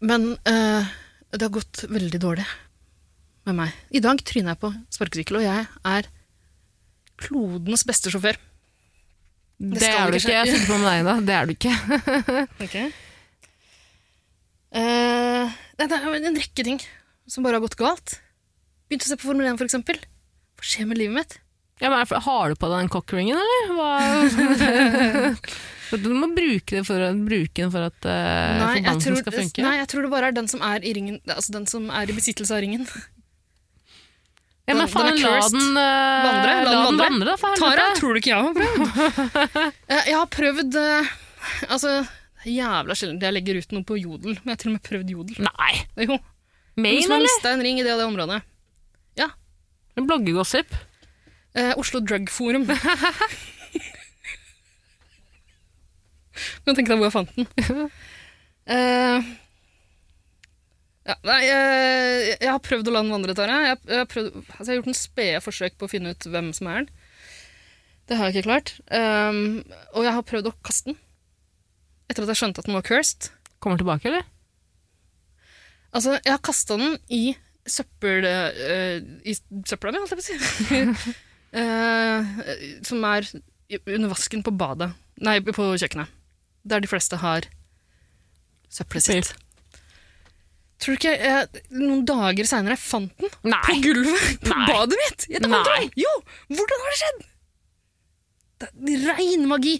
Men eh, det har gått veldig dårlig med meg. I dag tryner jeg på sparkesykkel, og jeg er klodens beste sjåfør.
det,
skal
er du
ikke
ikke. Jeg sitter på med deg, da. Det er du ikke.
Eh, nei, det er en rekke ting som bare har gått galt. Begynte å se på Formel 1, for eksempel. Hva skjer med livet mitt?
Ja, men er- Har du på deg den cockringen, eller? Hva? du må bruke, det for, bruke den for at eh,
Nei jeg,
forbannelsen
tror,
skal funke.
nei, jeg tror det bare er den som er i, ringen, altså den som er i besittelse av ringen.
ja, men
den-
faen,
den er
la
cursed.
den, eh,
Vandre,
la
la den
den
vandre.
vandre, da, for
Tara,
helvete.
tror du ikke jeg har prøvd? Eh, jeg har prøvd eh, Altså, det er jævla sjelden jeg legger ut noe på jodel, men jeg har til og med prøvd jodel.
Nei!
Jo. Hvis
Main,
man
eller?
mista en ring i det og det området.
Bloggegossip.
Eh, Oslo Drug Forum. Nå tenker jeg hvor jeg fant den. Eh, ja, nei, eh, jeg har prøvd å la den vandre, Tara. Jeg, har- jeg, har prøvd, altså jeg har gjort en spede forsøk på å finne ut hvem som er den. Det har jeg ikke klart. Um, og jeg har prøvd å kaste den. Etter at jeg skjønte at den var cursed.
Kommer tilbake, eller?
Altså, jeg har kasta den i søppel... eh, I søpla mi, holdt jeg på å si. Eh, som er i- under vasken på badet. Nei, på kjøkkenet. Der de fleste har søppelet sitt. Tror du ikke jeg, noen dager seinere fant den på
Nei!
gulvet på
Nei.
badet mitt? I et annet
Nei.
rom? Jo! Hvordan har det skjedd? Det er rein magi.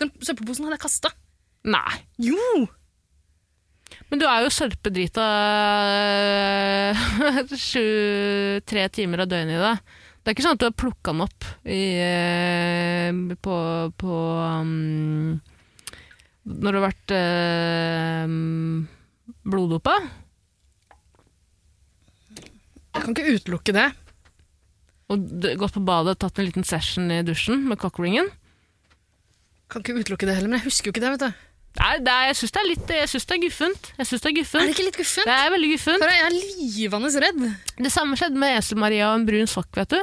Den søppelposen hadde jeg kasta.
Nei.
Jo!
Men du er jo sørpedrita øh, sju, tre timer av døgnet i deg. Det er ikke sånn at du har plukka den eh, opp i, øh, på, på um, når du har vært eh, bloddopa.
Jeg kan ikke utelukke det.
Og d- gått på badet og tatt en liten session i dusjen med cockringen.
Kan ikke utelukke det heller, men jeg husker jo ikke det. vet du.
Nei, det er, jeg syns det er litt Jeg syns det er guffent. Jeg synes det er
Er
guffent.
det ikke litt guffent?
Det er veldig guffent.
Kara, jeg er livende redd.
Det samme skjedde med Esel-Maria og en brun sokk, vet du.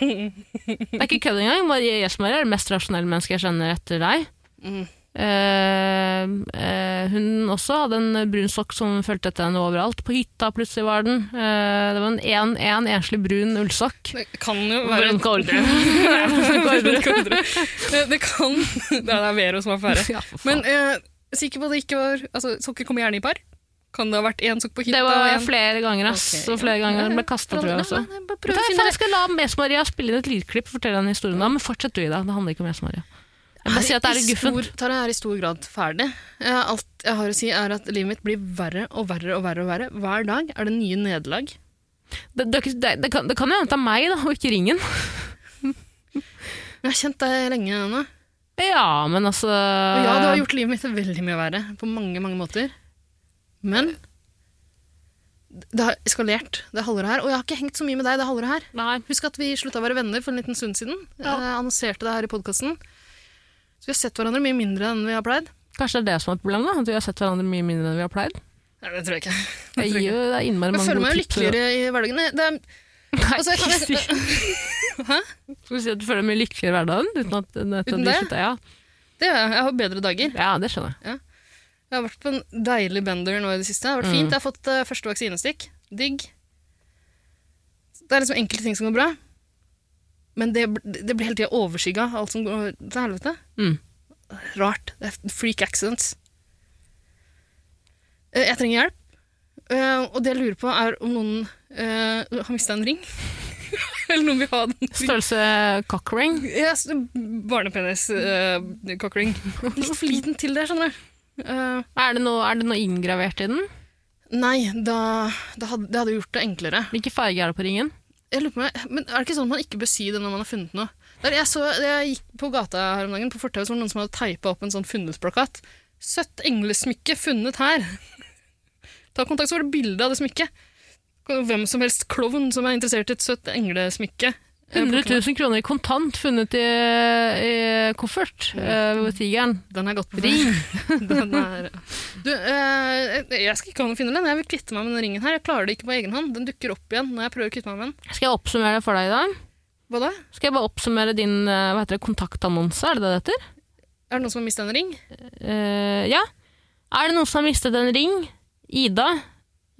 Det er ikke kødd engang. Maria- Esel-Maria er det mest rasjonelle mennesket jeg kjenner etter deg.
Mm.
Eh, eh, hun også hadde en brun sokk som fulgte etter henne overalt. På hytta plutselig var den. Eh, det var en, en, en enslig brun ullsokk.
Det kan jo være
Brunke ordre.
Det kan- Det kan Det er Vero som har fære.
Ja, for faen.
Men eh, sikker på at det ikke var altså, Sokker kommer gjerne i par. Kan det ha vært én sokk på hytta?
det var
og en-
flere ganger, ass.
Ok,
Og flere ganger den ble kasta, tror jeg også.
Nei, nei, bare prøv
Vet du
å
hva,
finne
Jeg skal la Mes-Maria spille inn et lydklipp og fortelle den historien. Da. Men fortsett du, Ida. Det handler ikke om Mes-Maria. Jeg bare sier at det er
I
litt guffent.
stor- Tara jeg er i stor grad ferdig. Eh, Alt jeg har å si, er at livet mitt blir verre og verre og verre. og verre. Hver dag er det nye nederlag.
Det, det, er ikke- det, det kan det kan jo hende det er meg, da, og ikke ringen.
Jeg har kjent deg lenge nå.
Ja, men altså
Og ja, du har gjort livet mitt veldig mye verre på mange, mange måter. Men det har eskalert det halvåret her. Og jeg har ikke hengt så mye med deg det halvåret her.
Nei.
Husk at vi slutta å være venner for en liten stund siden. Jeg annonserte det her i podkasten. Så vi har sett hverandre mye mindre enn vi har pleid.
Kanskje det er det som er problemet? da, At vi har sett hverandre mye mindre enn vi har pleid?
Nei, det tror jeg ikke.
Jeg
tror
gir jo det er innmari
Jeg
mange
føler meg
gode
jo
tips.
lykkeligere i hverdagen. Nei, Det er,
Nei,
altså, jeg kan-
fy søren. Skal vi si at du føler deg mye lykkeligere i hverdagen? Uten at, at
Uten
du
det?
slutta? Ja.
det gjør jeg. Jeg har bedre dager.
ja, det skjønner jeg.
Jeg har vært på en deilig bender nå i det siste. Det har vært fint. Jeg har fått eh, første vaksinestikk. Digg. Det er liksom enkelte ting som går bra. Men det, bl- det blir hele tida overskygga av alt som går til helvete.
Mm.
Rart. Det er freak accidents. Eh, Jeg trenger hjelp. Eh, Og det jeg lurer på, er om noen eh, har mista en ring. Eller noen vil ha den.
Størrelse cockring.
Ja, så- Barnepenis, uh, cockring. Litt for liten til det, skjønner du. Eh,
Er det, noe, er det noe inngravert i den?
Nei, da, da hadde, det hadde gjort det enklere.
Hvilken farge er det på ringen?
Jeg lurer på meg, men er det ikke sånn at man ikke bør si det når man har funnet noe? Der jeg, så, jeg gikk på gata her om dagen, på fortauet, så var det noen som hadde teipa opp en sånn funnetplakat. Søtt englesmykke funnet her. Ta kontakt, så var det bilde av det smykket. Kan jo Hvem som helst klovn som er interessert i et søtt englesmykke. eh,
100
plukke
000 kroner i kontant funnet i, i
Mm.
koffert eh, ved Tigeren.
opp. Den er godt på
Ring!
Den er, du, eh, jeg skal ikke ha noe å finne den. Jeg vil kvitte meg med den ringen her. Jeg klarer det ikke på egen hånd. Den dukker opp igjen når jeg prøver å kvitte meg med den.
Skal jeg oppsummere det for deg i dag?
Hva da?
Skal jeg bare oppsummere din eh, hva heter det, kontaktannonse? Er det det det heter?
Er det noen som har mista en ring?
Eh, ja. Er det noen som har mistet en ring? Ida.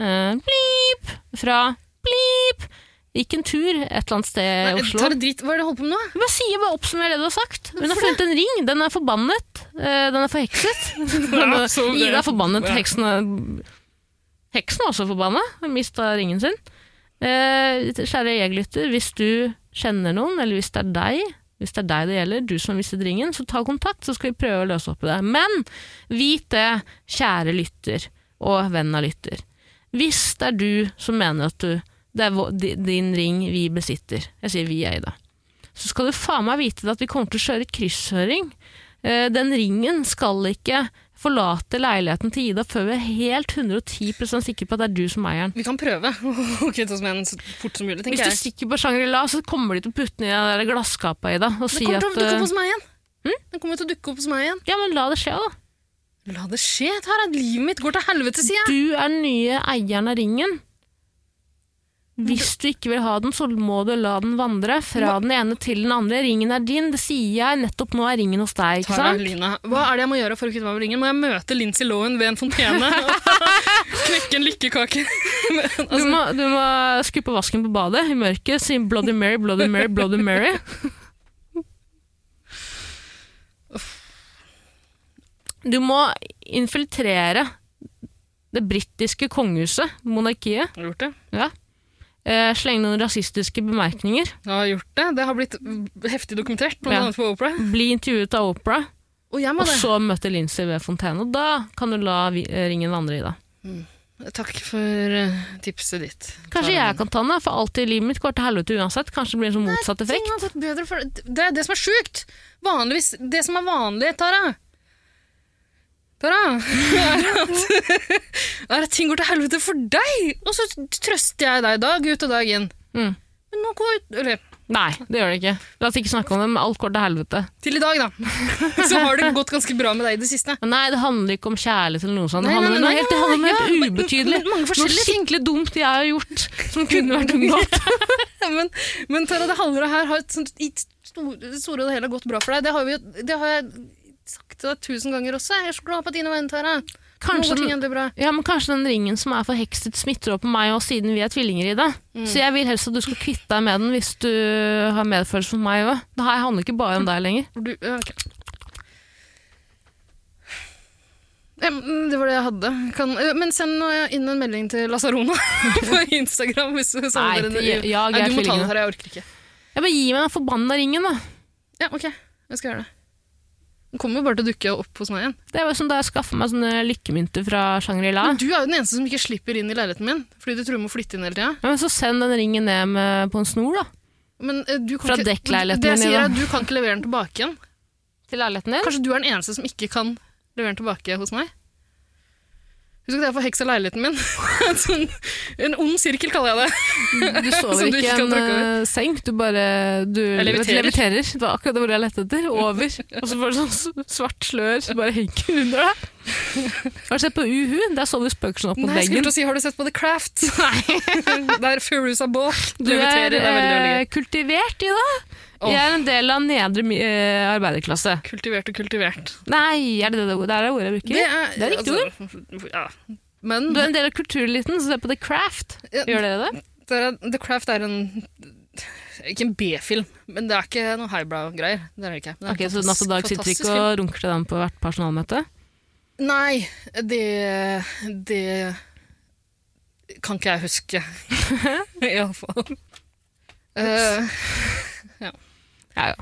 Uh, blip! Fra blip! Gikk en tur et eller annet sted i
Nei,
Oslo.
tar det drit. Hva er det du holder på med nå?
Bare sier, bare oppsummer det du har sagt. Hun har
Hvorfor
funnet en ring. Den er forbannet. Eh, Den er forhekset.
Ja, så det-
Ida er forbannet.
Ja.
Heksen er, heksen er også forbanna. Hun mista ringen sin. Eh, Kjære jeglytter, hvis du kjenner noen, eller hvis det er deg hvis det er deg det gjelder, du som har mistet ringen, så ta kontakt, så skal vi prøve å løse opp i det. Men vit det, kjære lytter og venn av lytter. Hvis det er du som mener at du, det er vå- di- din ring vi besitter, jeg sier vi er i det, så skal du faen meg vite det at vi kommer til å kjøre krysshøring. Eh, Den ringen skal ikke forlate leiligheten til Ida før vi er helt 110 sikre på at det er du som eier den.
Vi kan prøve å kvitte oss med den så fort som mulig,
Hvis
tenker
du
jeg.
stikker på Shangri-La, så kommer de til å putte den i den der glasskapa, Ida, og
Det
si
kommer
at
til å dukke opp
eh,
hos meg igjen. Den kommer til å dukke opp hos meg igjen.
Ja, men la det skje, da.
La det skje, Tara. Livet mitt går til helvete, sier jeg.
Du er den nye eieren av ringen. Hvis du ikke vil ha den, så må du la den vandre fra den ene til den andre. Ringen er din, det sier jeg. Nettopp nå er ringen hos deg, ikke
Tara
sant?
Lina, hva er det jeg må gjøre for å kvitte meg med ringen? Må jeg møte Lincy Lohan ved en fontene? Knekke en lykkekake?
Du må, du må skru på vasken på badet i mørket, si Bloody Mary, Bloody Mary, Bloody Mary. Du må infiltrere det britiske kongehuset, monarkiet.
Har du gjort det?
Ja. Eh, Slenge noen rasistiske bemerkninger.
Jeg har gjort det. Det har blitt heftig dokumentert, blant
Ja.
annet på Opera.
Bli intervjuet av Opera,
Og jeg må
og
det.
så møte Lincy ved Fontene. Og Da kan du la vi- eh, ringen vandre i deg.
Takk for eh, tipset ditt.
Kanskje jeg kan ta den, da, for alt i livet mitt går til helvete uansett. Kanskje det blir en sånn motsatt effekt.
Ting har gått bedre for Det er det som er sjukt! Vanligvis Det som er vanlig, Tara, Tara, er at, er at ting går til helvete for deg, og så trøster jeg deg dag ut og dag inn.
Mm.
Men nå går, eller,
Nei, det gjør det ikke. La oss ikke snakke om det, men alt går til helvete.
til i dag, da. Så har det gått ganske bra med deg i det siste.
Men nei, det handler ikke om kjærlighet eller noe sånt. Det
Nei, nei,
handler om
nei,
noe helt, det handler om noe
ja,
helt
men-
ubetydelig.
men mange
Noe
forskjellige ting.
skikkelig dumt jeg har gjort som kunne vært unngått.
Men, men Tara, det handler om her har et sånt, i sto- det store og det hele har gått bra for deg. Det har, vi, jo- det har jeg sagt til deg tusen ganger også. Jeg er så glad på dine vegne, Tara. Nå
Kanskje
går ting
den,
endelig bra.
ja, men kanskje den ringen som er forhekstet, smitter over på meg òg, siden vi er tvillinger i det.
Mm.
Så jeg vil helst at du skal kvitte deg med den hvis du har medfølelse for meg òg. Det her handler ikke bare om deg lenger.
Du, ja, ok. Ja, men mm, Det var det jeg hadde. Kan, eh, men send nå inn en melding til Lasarona på Instagram. Hvis du,
Nei,
savner
til-
henne.
ja,
Nei,
greit,
du må ta
tvillingene.
den her, jeg orker ikke.
Jeg bare gir meg den forbanna ringen, da.
Ja, ok, jeg skal gjøre det. Den kommer jo bare til å dukke opp hos meg igjen.
Det var som da jeg skaffa meg sånne lykkemynter fra Shangri-La.
Men du er jo den eneste som ikke slipper inn i leiligheten min, fordi du tror jeg må flytte inn hele tida.
Ja, men så send den ringen ned med, på en snor, da.
Men eh, du kan
Fra
ikke-
dekkleiligheten
Det jeg
min i
sier er
dag.
at du kan ikke levere den tilbake igjen.
Til leiligheten din.
Kanskje du er den eneste som ikke kan levere den tilbake hos meg? Husk at jeg forheksa leiligheten min. sånn, en ond sirkel kaller jeg det.
Mm, Du sover
Som du
ikke i
ikke kan
en
tråkke over.
eh, seng, du bare du
Jeg leviterer.
leviterer. Det var akkurat det ordet jeg lette etter. Over. Og så får du sånn s- svart slør som bare henger under deg. Har du sett på Uhu? Der sover spøkelsen opp mot
Nei, jeg skulle
veggen.
til å si, har du sett på The Craft? Der Furusa Balk
Du er
leviterer. Det er veldig, veldig gøy.
eh, kultivert, Ida.
Åh.
Jeg er en del av nedre mi- eh, arbeiderklasse.
Kultivert og kultivert.
Nei, er det det, det er det ordet jeg bruker? det er riktig
ord. Ja. Men
Du er en del av kultureliten, så se på The Craft.
Ja,
Gjør dere det?
Tara, The Craft er en Ikke en B-film, men det er ikke noe highbrow-greier. Det er det ikke. Det er en
Ok, Så natt og dag sitter vi
fantastisk
ikke og runker til dem på hvert personalmøte?
film. Nei, det Det kan ikke jeg huske. Iallfall. Uh,
Ja, ja.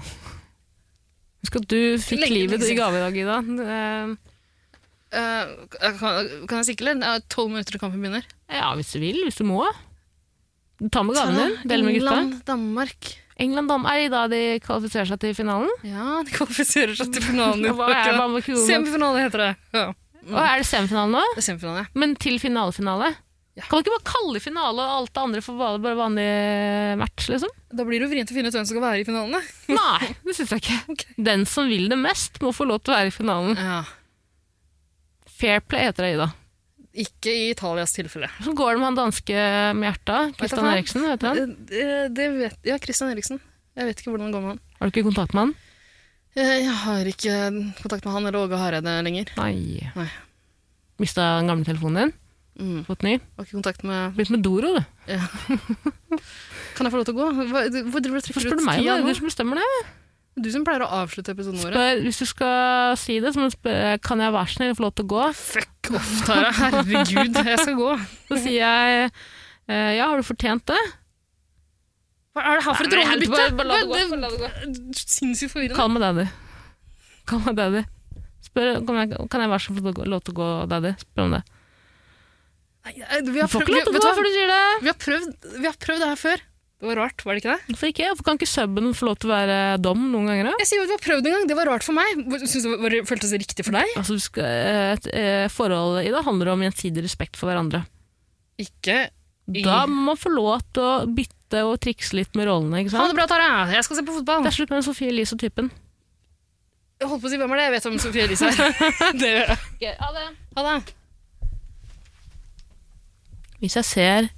Husk at du fikk
Lenge,
livet i
lenge siden.
gave i dag, Ida. Det-
uh, kan, kan jeg sikle? Det er tolv minutter til kampen begynner.
Ja, hvis du vil. Hvis du må. Du tar med gaven din. Del med gutta.
England, Danmark.
England Dam er det da de kvalifiserer seg til finalen.
Ja, de kvalifiserer seg til finalen. i
Hva er,
dag.
hva med kronen?
Semifinale heter det. Ja,
Og er det semifinale nå?
det er semifinale.
Men til finalefinale?
Ja.
Kan man ikke bare kalle finale og alt det andre for bare bare vanlig match, liksom?
Da blir det jo vrient å finne ut hvem som skal være i finalene.
Nei, det syns jeg ikke.
Ok.
Den som vil det mest, må få lov til å være i finalen.
Ja.
Fair play heter det, Ida.
Ikke i Italias tilfelle.
Så går det med han danske med hjertet, Kristian
faen.
Eriksen. Vet du Eh, han?
Det, Eh, det- det vet, ja, Christian Eriksen. Jeg vet ikke hvordan det går med han.
Har du ikke kontakt med han?
Eh, Jeg har ikke kontakt med han eller Åge Hareide lenger.
Nei.
Nei.
Mista den gamle telefonen din?
Mm.
Fått ny?
Har ikke kontakt med
Blitt med Doro, du.
Kan jeg få lov til å gå? Hva, du- hvor driver du og
Hvorfor
trekker
spør
ut
du meg?
tida
Det er
nå?
du som bestemmer det.
Du som pleier å avslutte episodene våre.
Spør, hvis du skal si det, så må du spørre kan jeg være snill og få lov til å gå.
Fuck off, Tara. Herregud, jeg skal gå.
Så sier jeg eh, ja, har du fortjent det?
Hva er det her for et
Nei, men helt
rollebytte?
bare- bare la det gå, bare la det
Hva- det- Sinnssykt forvirrende.
Kall meg daddy. Kall meg daddy. Spør, kan, jeg, kan jeg være snill og få lov til å gå- lov til å gå, daddy? Spør om det.
Nei, nei, Vi
Du
har
får
prøvd,
ikke lov til
vi,
å
vet du
gå
hva?
før du sier det.
Vi har, prøvd, vi har prøvd det her før. Det var rart, var det ikke det?
Hvorfor ikke? Hvorfor kan ikke subben få lov til å være dom noen ganger? da?
Jeg sier jo at vi har prøvd en gang, det var rart for meg. Hvor- Synes du det var- føltes det riktig for deg?
Altså, vi skal, et, eh, forhold i det handler om gjensidig respekt for hverandre.
Ikke. I-
Da må man få lov til å bytte og trikse litt med rollene. ikke
Ha
sant?
det bra, Tara. Jeg skal se på fotball.
Det er slutt med Sofie Elise-typen.
Jeg holdt på å si hvem er det? Jeg vet om Sofie Elise er. det gjør jeg.
Ha det!
Ha det.
Hvis jeg ser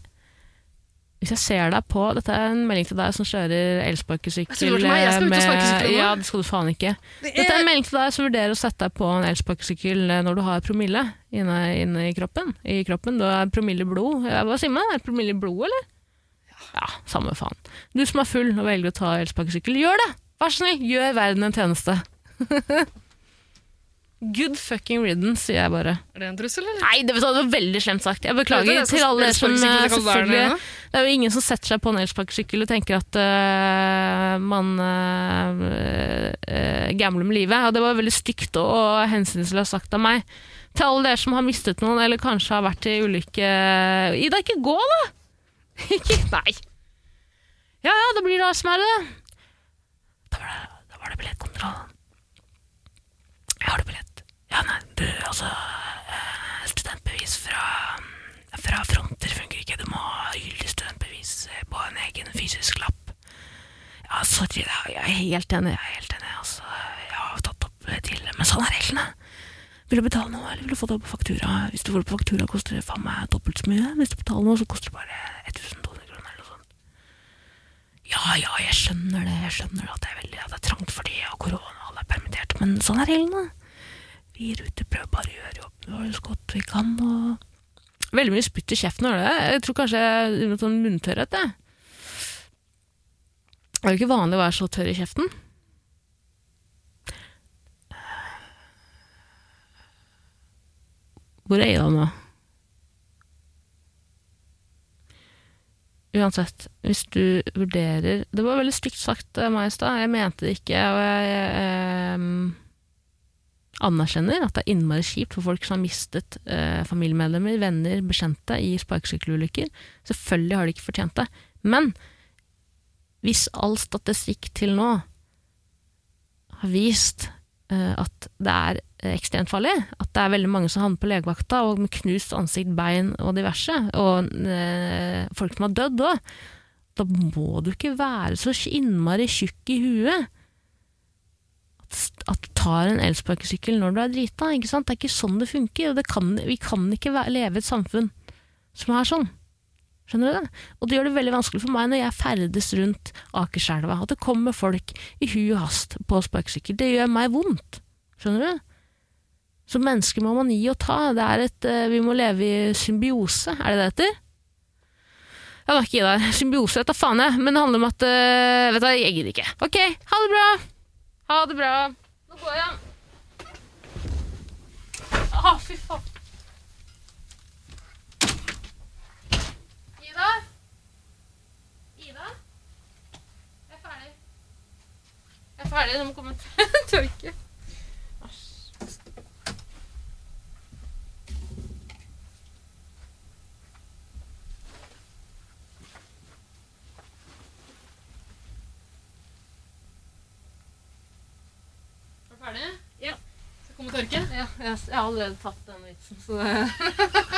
hvis jeg ser deg på Dette er en melding til deg som kjører elsparkesykkel. eh,
Jeg trodde det var til meg. Jeg skal ut og
med-
sparkesykle nå.
Ja, det skal du faen ikke. Dette er en melding til deg som vurderer å sette deg på en elsparkesykkel eh, når du har promille inne, inne i kroppen. I kroppen, Du har promille i blod. Ja, Hva sier man? Er det promille i blod, eller? Ja, samme faen. Du som er full og velger å ta elsparkesykkel, gjør det! Vær så snill, gjør verden en tjeneste. Good fucking riddance, sier jeg bare.
Er det en trussel, eller?
Nei, det var veldig slemt sagt. Jeg
Vet du,
beklager
jeg skal
til alle
spille
dere som eh,
sparkesykkel, jeg kan være der
selvfølgelig
nede.
Det er jo ingen som setter seg på en elsparkesykkel og tenker at eh, man eh, eh, gambler med livet. Og det var veldig stygt og, og hensynsløst sagt av meg. Til alle dere som har mistet noen, eller kanskje har vært i Eh, ulykke Ida, ikke gå, da! Ikke Nei. Ja ja, det blir da smerre. Da var det, da var det billettkontroll. Jeg har du billett? Ja, nei, du altså eh, Studentbevis fra, fra fronter funker ikke. Du må ha gyldig studentbevis eh, på en egen fysisk lapp. Ja, sorry, det er- jeg er helt enig. Jeg er helt enig. Altså, jeg har tatt opp til Men sånn er reglene. Vil du betale noe, eller vil du få det på faktura? Hvis du får det på faktura, koster det faen meg dobbelt så mye. Hvis du betaler noe, så koster det bare 1200 kroner eller noe sånt. Ja, ja, jeg skjønner det. Jeg skjønner at det er veldig at det er trangt for de og korona, og alle er permittert. Men sånn er reglene. Vi i Ruter prøver bare å gjøre jobben vår så godt vi kan. Og... Veldig mye spytt i kjeften, var det det? Jeg tror kanskje jeg driver med sånn munntørrhet. jeg. Det er jo ikke vanlig å være så tørr i kjeften. Hvor er Ida nå? Uansett, hvis du vurderer Det var veldig stygt sagt av meg i stad. Jeg mente det ikke. Og jeg ehm, anerkjenner at det er innmari kjipt for folk som har mistet eh, familiemedlemmer, venner, bekjente i sparkesykkelulykker. Selvfølgelig har de ikke fortjent det. Men hvis all statistikk til nå har vist eh, at det er eh, ekstremt farlig, at det er veldig mange som havner på legevakta og med knust ansikt, bein og diverse, og eh, folk som har dødd òg, da må du ikke være så innmari tjukk i huet at- at du tar en elsparkesykkel når du er drita. ikke sant? Det er ikke sånn det funker. og det kan, Vi kan ikke væ- leve i et samfunn som er sånn. Skjønner du det? Og det gjør det veldig vanskelig for meg når jeg ferdes rundt Akerselva. At det kommer folk i hu og hast på sparkesykkel. Det gjør meg vondt. Skjønner du? Som mennesker må man gi og ta. Det er et, eh, vi må leve i symbiose, er det det heter? Jeg var ikke i der. Symbiose, jeg tar faen jeg. Men det handler om at eh, Vet du hva, jeg gidder ikke. Ok, ha det bra! Ha det bra. Nå går jeg. Å, fy faen. Ida? Ida? Jeg er ferdig. Jeg er ferdig, du må komme til tørke. Er du ferdig?
Skal komme og
Ja,
tørke?
jeg, jeg har allerede tatt den vitsen, så det